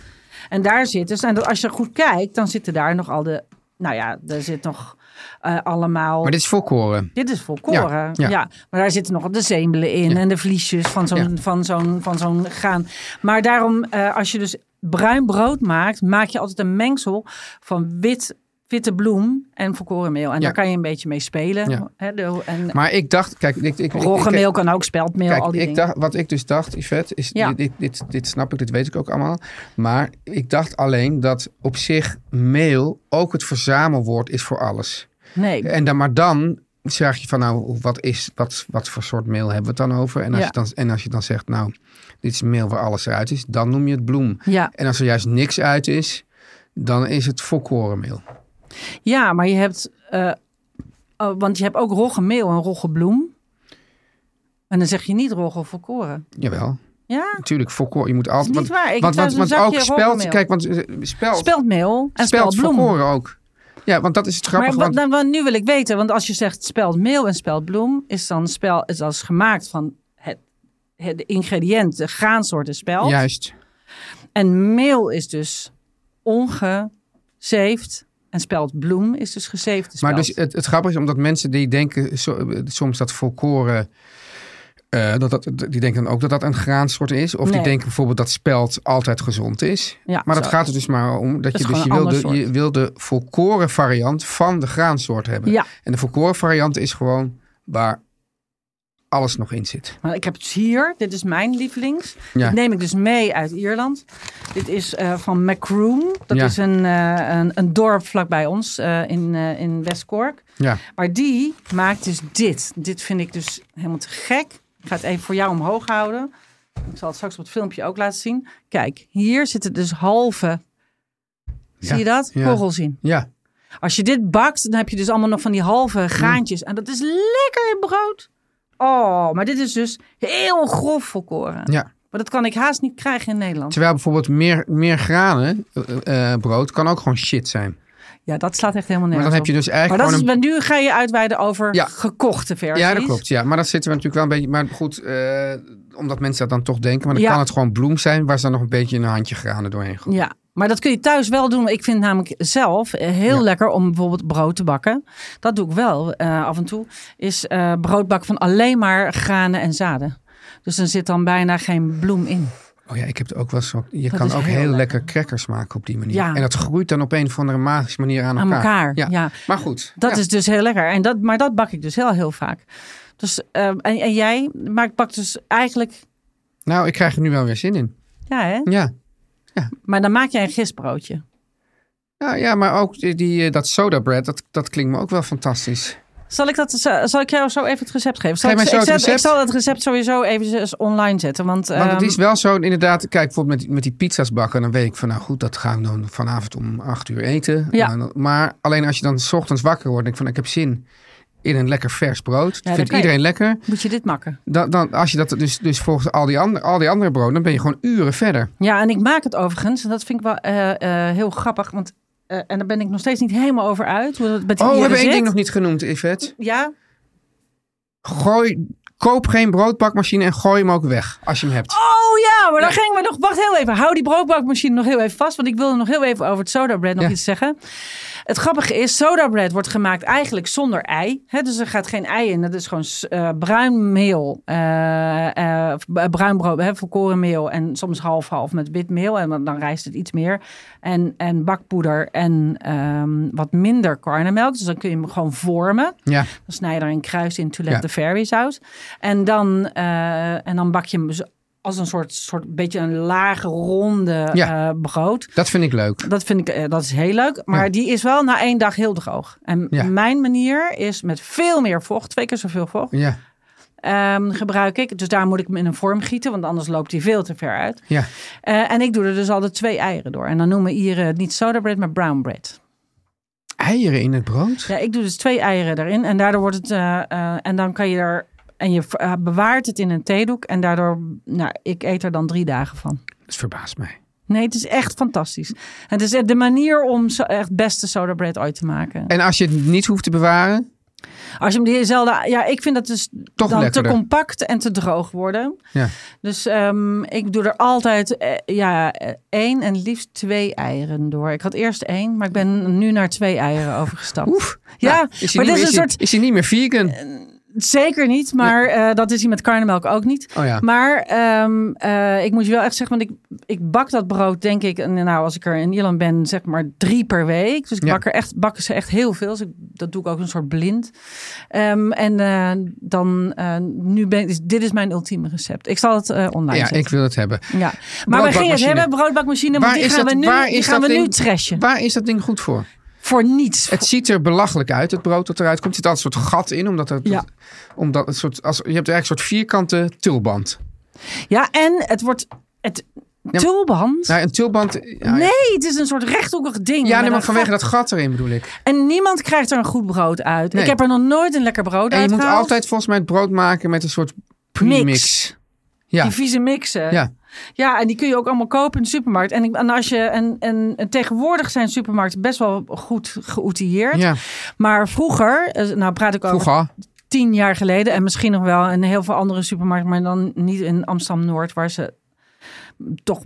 Speaker 5: En daar zit dus, en dat, als je goed kijkt, dan zitten daar nog al de... Nou ja, er zit nog eh, allemaal...
Speaker 4: maar dit is volkoren.
Speaker 5: Dit is volkoren. Ja,
Speaker 4: Ja, ja.
Speaker 5: maar daar zitten nog de zemelen in
Speaker 4: Ja.
Speaker 5: en de vliesjes van zo'n
Speaker 4: Ja.
Speaker 5: van zo'n van zo'n graan. Maar daarom, eh, als je dus bruin brood maakt, maak je altijd een mengsel van wit, witte bloem en volkoren meel.
Speaker 4: Ja.
Speaker 5: En daar kan je een beetje mee spelen.
Speaker 4: Ja.
Speaker 5: Hè, de- en
Speaker 4: Maar ik dacht, kijk, ik, ik, ik, ik-
Speaker 5: roggemeel kan ook, speldmeel,
Speaker 4: Kijk,
Speaker 5: al die
Speaker 4: ik
Speaker 5: dingen.
Speaker 4: dacht, wat ik dus dacht, Yvette, is
Speaker 5: Ja.
Speaker 4: dit, dit, dit, dit snap ik, dit weet ik ook allemaal. Maar ik dacht alleen dat op zich mail ook het verzamelwoord is voor alles.
Speaker 5: Nee,
Speaker 4: En dan maar dan zeg je van nou, wat, is, wat, wat voor soort mail hebben we het dan over? En als,
Speaker 5: Ja.
Speaker 4: je dan, en als je dan zegt nou, dit is mail waar alles eruit is, dan noem je het bloem.
Speaker 5: ja.
Speaker 4: En als er juist niks uit is, dan is het volkorenmeel.
Speaker 5: ja, maar je hebt, eh, oh, want je hebt ook roggemeel en roggebloem. En dan zeg je niet rogge of volkoren.
Speaker 4: Jawel,
Speaker 5: Ja,
Speaker 4: natuurlijk volkoren. Je moet altijd...
Speaker 5: niet waar. Ik
Speaker 4: want, want,
Speaker 5: thuis
Speaker 4: want
Speaker 5: een
Speaker 4: ook
Speaker 5: zakje
Speaker 4: speld,
Speaker 5: roggenmeel.
Speaker 4: kijk, want eh, speld,
Speaker 5: speldmeel en
Speaker 4: speld
Speaker 5: speldbloem.
Speaker 4: volkoren ook. Ja, want dat is het grappige.
Speaker 5: maar wat,
Speaker 4: want-
Speaker 5: dan, want nu wil ik weten, want als je zegt speldmeel en speldbloem, is dan spel is als gemaakt van het, het ingrediënt, de graansoorten speld.
Speaker 4: Juist.
Speaker 5: En meel is dus ongezeefd en speldbloem is dus gezeefde speld.
Speaker 4: Maar dus het, het grappige is, omdat mensen die denken so- eh, soms dat volkoren... eh, dat dat, die denken dan ook dat dat een graansoort is. Of
Speaker 5: Nee.
Speaker 4: die denken bijvoorbeeld dat spelt altijd gezond is.
Speaker 5: Ja,
Speaker 4: maar dat
Speaker 5: zo.
Speaker 4: gaat er dus maar om dat,
Speaker 5: is
Speaker 4: je, dus je,
Speaker 5: gewoon
Speaker 4: wil
Speaker 5: een
Speaker 4: de,
Speaker 5: ander
Speaker 4: je wil de volkoren dus- variant van de graansoort hebben.
Speaker 5: Ja.
Speaker 4: En de volkoren variant is gewoon waar alles nog in zit.
Speaker 5: Maar ik heb het hier. Dit is mijn lievelings.
Speaker 4: Ja.
Speaker 5: Dat neem ik dus mee uit Ierland. Dit is eh, van Macroom. Dat
Speaker 4: Ja.
Speaker 5: is een, eh, een, een dorp vlakbij ons eh, in, eh, in West-Cork.
Speaker 4: Ja.
Speaker 5: Maar die maakt dus dit. Dit vind ik dus helemaal te gek. Ik ga het even voor jou omhoog houden. Ik zal het straks op het filmpje ook laten zien. Kijk, hier zitten dus halve... Zie je dat?
Speaker 4: Ja.
Speaker 5: Kogels in.
Speaker 4: Ja.
Speaker 5: Als je dit bakt, dan heb je dus allemaal nog van die halve graantjes. En dat is lekker in brood. Oh, maar dit is dus heel grof volkoren.
Speaker 4: ja.
Speaker 5: Maar dat kan ik haast niet krijgen in Nederland.
Speaker 4: Terwijl bijvoorbeeld meer, meer granen eh, eh, brood kan ook gewoon shit zijn.
Speaker 5: Ja, dat slaat echt helemaal
Speaker 4: Maar dan
Speaker 5: nergens
Speaker 4: heb je
Speaker 5: op.
Speaker 4: dus eigenlijk
Speaker 5: Maar dat is,
Speaker 4: gewoon een
Speaker 5: maar nu ga je uitweiden over
Speaker 4: Ja.
Speaker 5: gekochte versies.
Speaker 4: Ja, dat klopt. Ja. Maar dat zitten we natuurlijk wel een beetje. Maar goed, eh, omdat mensen dat dan toch denken. Maar dan
Speaker 5: Ja.
Speaker 4: kan het gewoon bloem zijn waar ze dan nog een beetje een handje granen doorheen gooien.
Speaker 5: Ja, maar dat kun je thuis wel doen. Ik vind het namelijk zelf eh, heel
Speaker 4: Ja.
Speaker 5: lekker om bijvoorbeeld brood te bakken. Dat doe ik wel eh, af en toe. Is eh brood bakken van alleen maar granen en zaden. Dus dan zit dan bijna geen bloem in.
Speaker 4: Oh ja, ik heb het ook wel zo. Je
Speaker 5: Dat
Speaker 4: kan
Speaker 5: is
Speaker 4: ook
Speaker 5: heel
Speaker 4: heel
Speaker 5: lekker.
Speaker 4: lekker crackers maken op die manier.
Speaker 5: Ja.
Speaker 4: En dat groeit dan op een of andere magische manier aan
Speaker 5: Aan
Speaker 4: elkaar.
Speaker 5: elkaar, ja.
Speaker 4: Maar goed.
Speaker 5: Dat
Speaker 4: ja.
Speaker 5: is dus heel lekker. En dat, maar dat bak ik dus heel, heel vaak. Dus, eh, en, en jij maakt, bakt dus eigenlijk...
Speaker 4: Nou, ik krijg er nu wel weer zin in.
Speaker 5: Ja, hè?
Speaker 4: Ja.
Speaker 5: Maar dan maak jij een gistbroodje.
Speaker 4: Ja, ja maar ook die, die, eh, dat soda bread, dat, dat klinkt me ook wel fantastisch.
Speaker 5: Zal ik, dat, zal zal ik jou zo even het recept geven? Zal
Speaker 4: Geef
Speaker 5: ik,
Speaker 4: mij zo
Speaker 5: ik,
Speaker 4: het
Speaker 5: zet-
Speaker 4: recept.
Speaker 5: ik zal het recept sowieso even online zetten. Want,
Speaker 4: Want het
Speaker 5: ehm,
Speaker 4: is wel zo, inderdaad, kijk, bijvoorbeeld met, met die pizza's bakken, dan weet ik van, nou goed, dat ga ik dan vanavond om acht uur eten.
Speaker 5: Ja.
Speaker 4: Maar, maar alleen als je dan 's ochtends wakker wordt, denk ik van, ik heb zin in een lekker vers brood. Dat
Speaker 5: dan
Speaker 4: vindt
Speaker 5: kan je-
Speaker 4: iedereen lekker.
Speaker 5: moet je dit makken.
Speaker 4: Dan, dan, als je dat dus, dus volgens al die, andere, al die andere broden, dan ben je gewoon uren verder.
Speaker 5: Ja, en ik maak het overigens. En dat vind ik wel eh, eh, heel grappig. Want, eh, en daar ben ik nog steeds niet helemaal over uit. Hoe dat met die
Speaker 4: Oh, we
Speaker 5: dieren
Speaker 4: hebben één
Speaker 5: zit.
Speaker 4: ding nog niet genoemd, Yvette.
Speaker 5: Ja?
Speaker 4: Gooi, koop geen broodbakmachine en gooi hem ook weg, als je hem hebt.
Speaker 5: Oh ja, maar dan gingen we nog... Wacht heel even. Hou die broodbakmachine nog heel even vast. Want ik wilde nog heel even over het soda bread nog
Speaker 4: Ja.
Speaker 5: iets zeggen. Het grappige is, soda bread wordt gemaakt eigenlijk zonder ei. Hè? Dus er gaat geen ei in. Dat is gewoon s- eh, bruin meel. eh, eh, b- bruin brood, hè, volkoren meel. En soms half-half met wit meel. En dan- dan rijst het iets meer. En, en bakpoeder en ehm, wat minder karnemelk. Dus dan kun je hem gewoon vormen.
Speaker 4: Ja,
Speaker 5: Dan snij je er een kruis in to let
Speaker 4: Ja.
Speaker 5: the fairies out. En dan, eh, en dan bak je hem dus als een soort, soort beetje een lage ronde
Speaker 4: Ja.
Speaker 5: eh, brood.
Speaker 4: dat vind ik leuk.
Speaker 5: Dat vind ik, eh, dat is heel leuk. Maar
Speaker 4: Ja.
Speaker 5: die is wel na één dag heel droog. En
Speaker 4: Ja.
Speaker 5: mijn manier is met veel meer vocht, twee keer zoveel vocht,
Speaker 4: Ja,
Speaker 5: ehm, gebruik ik. Dus daar moet ik hem in een vorm gieten, want anders loopt hij veel te ver uit.
Speaker 4: ja.
Speaker 5: Eh, en ik doe er dus altijd twee eieren door. En dan noemen Ieren het niet soda bread, maar brown bread.
Speaker 4: Eieren in het brood?
Speaker 5: Ja, ik doe dus twee eieren erin. En daardoor wordt het. eh, eh, en dan kan je er. En je eh, bewaart het in een theedoek. En daardoor. Nou, ik eet er dan drie dagen van.
Speaker 4: Dat verbaast mij.
Speaker 5: Nee, het is echt fantastisch. Het is de manier om zo, echt beste soda bread ooit te maken.
Speaker 4: En als je het niet hoeft te bewaren,
Speaker 5: Als je hem diezelfde. Ja, ik vind dat dus
Speaker 4: Toch
Speaker 5: dan te
Speaker 4: lekkerder.
Speaker 5: compact en te droog worden.
Speaker 4: Ja.
Speaker 5: Dus ehm, ik doe er altijd eh, ja, eh, één en liefst twee eieren door. Ik had eerst één, maar ik ben nu naar twee eieren overgestapt.
Speaker 4: Oef.
Speaker 5: Ja,
Speaker 4: nou, is hij
Speaker 5: maar
Speaker 4: niet meer-
Speaker 5: dit is een
Speaker 4: hij-
Speaker 5: soort.
Speaker 4: Is hij niet meer vegan? Oh
Speaker 5: Zeker niet, maar eh, dat is hij met karnemelk ook niet.
Speaker 4: Oh ja.
Speaker 5: Maar ehm, eh, ik moet je wel echt zeggen, want ik, ik bak dat brood denk ik, en nou als ik er in Ierland ben, zeg maar drie per week. Dus ik
Speaker 4: Ja.
Speaker 5: bak er echt, bakken ze echt heel veel. Dus ik, dat doe ik ook een soort blind. Ehm, en eh, dan, eh, nu ben dus dit is mijn ultieme recept. Ik zal het eh, online
Speaker 4: Ja,
Speaker 5: zetten.
Speaker 4: ik wil het hebben.
Speaker 5: Ja. Maar we gingen het
Speaker 4: Broodbakmachine.
Speaker 5: hebben, broodbakmachine, Nou, maar
Speaker 4: Waar
Speaker 5: die
Speaker 4: is
Speaker 5: gaan
Speaker 4: dat-
Speaker 5: we nu,
Speaker 4: waar
Speaker 5: die
Speaker 4: is
Speaker 5: gaan we
Speaker 4: dat
Speaker 5: nu
Speaker 4: ding?
Speaker 5: trashen.
Speaker 4: Waar is dat ding goed voor?
Speaker 5: Voor niets.
Speaker 4: Het ziet er belachelijk uit, het brood dat eruit komt. Er zit altijd een soort gat in, omdat, het,
Speaker 5: Ja.
Speaker 4: omdat het soort, als, je hebt eigenlijk een soort vierkante tulband.
Speaker 5: Ja, en het wordt... Het,
Speaker 4: maar-
Speaker 5: Tulband?
Speaker 4: Nou, een tulband... ja, ja.
Speaker 5: Nee, het is een soort rechthoekig ding.
Speaker 4: Ja,
Speaker 5: met
Speaker 4: nee, maar
Speaker 5: een
Speaker 4: vanwege
Speaker 5: gat.
Speaker 4: dat gat erin bedoel ik.
Speaker 5: En niemand krijgt er een goed brood uit.
Speaker 4: Nee.
Speaker 5: Ik heb er nog nooit een lekker brood
Speaker 4: En je
Speaker 5: uit
Speaker 4: moet
Speaker 5: gehaald.
Speaker 4: altijd volgens mij het brood maken met een soort premix.
Speaker 5: mix.
Speaker 4: Ja,
Speaker 5: Die vieze mixen.
Speaker 4: ja.
Speaker 5: Ja, en die kun je ook allemaal kopen in de supermarkt. En, ik- en, als je, en, en, en tegenwoordig zijn supermarkten best wel goed geoutilleerd.
Speaker 4: ja.
Speaker 5: Maar vroeger, eh, nou praat ik over
Speaker 4: Vroeger.
Speaker 5: tien jaar geleden. En misschien nog wel in heel veel andere supermarkten. Maar dan niet in Amsterdam-Noord, waar ze toch,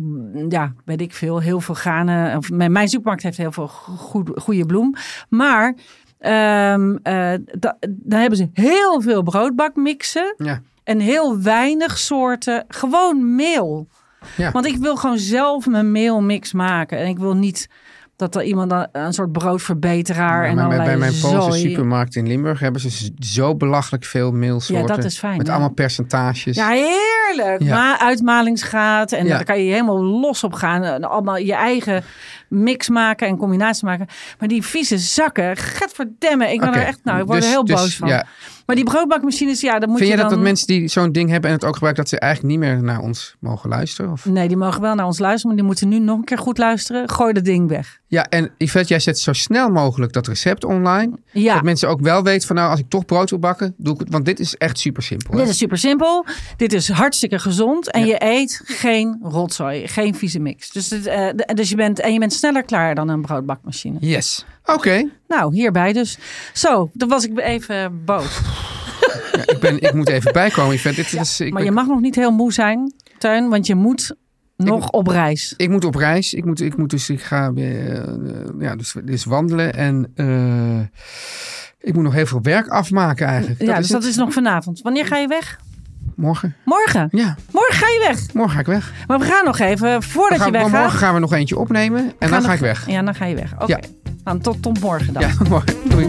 Speaker 5: ja, weet ik veel, heel veel granen. Of mijn, mijn supermarkt heeft heel veel goed, goede bloem. Maar ehm eh, da- dan hebben ze heel veel broodbakmixen.
Speaker 4: Ja.
Speaker 5: En heel weinig soorten, gewoon meel.
Speaker 4: Ja.
Speaker 5: Want ik wil gewoon zelf mijn meelmix maken. En ik wil niet Dat er iemand dan- een soort broodverbeteraar
Speaker 4: Maar
Speaker 5: en
Speaker 4: bij,
Speaker 5: allerlei
Speaker 4: bij mijn Poolse
Speaker 5: zooi-
Speaker 4: supermarkt in Limburg hebben ze z- zo belachelijk veel meelsoorten.
Speaker 5: Ja, dat is fijn,
Speaker 4: Met
Speaker 5: ja.
Speaker 4: allemaal percentages.
Speaker 5: Ja, heerlijk.
Speaker 4: Ja.
Speaker 5: Maar uitmalingsgraad. En
Speaker 4: Ja.
Speaker 5: daar kan je helemaal los op gaan. En Allemaal je eigen mix maken en combinatie maken. Maar die vieze zakken, getverdemmen. Ik ben
Speaker 4: Oké,
Speaker 5: er echt, nou, ik word
Speaker 4: dus-
Speaker 5: er heel
Speaker 4: dus,
Speaker 5: boos van.
Speaker 4: ja.
Speaker 5: Maar die broodbakmachines, ja, dat moet
Speaker 4: Vind je
Speaker 5: je
Speaker 4: dat,
Speaker 5: dan...
Speaker 4: dat mensen die zo'n ding hebben en het ook gebruiken, dat ze eigenlijk niet meer naar ons mogen luisteren? Of?
Speaker 5: Nee, die mogen wel naar ons luisteren, maar die moeten nu nog een keer goed luisteren. Gooi dat ding weg.
Speaker 4: Ja, en Yvette, jij zet zo snel mogelijk dat recept online.
Speaker 5: Ja.
Speaker 4: Dat mensen ook wel weten van nou, als ik toch brood wil bakken, doe ik het. Want dit is echt super simpel.
Speaker 5: Dit is super simpel. Dit is hartstikke gezond. En je eet geen rotzooi, geen vieze mix. Dus, het, eh, d- dus je bent, en je bent sneller klaar dan een broodbakmachine.
Speaker 4: Yes. Oké,
Speaker 5: Nou, hierbij dus. Zo, dan was ik even boos.
Speaker 4: ik, ben- ik moet even bijkomen, Yvette. Dit is, ik,
Speaker 5: Maar je
Speaker 4: ben-
Speaker 5: mag nog niet heel moe zijn, Tuin, want je moet nog op reis.
Speaker 4: ik moet op reis. Ik moet, ik moet dus, ik ga eh, eh, ja, dus, dus wandelen. En eh, ik moet nog heel veel werk afmaken eigenlijk.
Speaker 5: ja, dus dat
Speaker 4: het.
Speaker 5: is nog vanavond. Wanneer ga je weg?
Speaker 4: Morgen.
Speaker 5: Morgen.
Speaker 4: Ja,
Speaker 5: Morgen ga je weg.
Speaker 4: morgen ga ik weg.
Speaker 5: Maar we gaan nog even,
Speaker 4: Dan
Speaker 5: voordat
Speaker 4: gaan
Speaker 5: je
Speaker 4: we-
Speaker 5: weggaat.
Speaker 4: morgen gaan we nog eentje opnemen en dan
Speaker 5: we-
Speaker 4: ga ik weg.
Speaker 5: Ja, dan ga je weg. Oké.
Speaker 4: Ja.
Speaker 5: Nou, tot, tot morgen dan.
Speaker 4: Ja, morgen. Doei.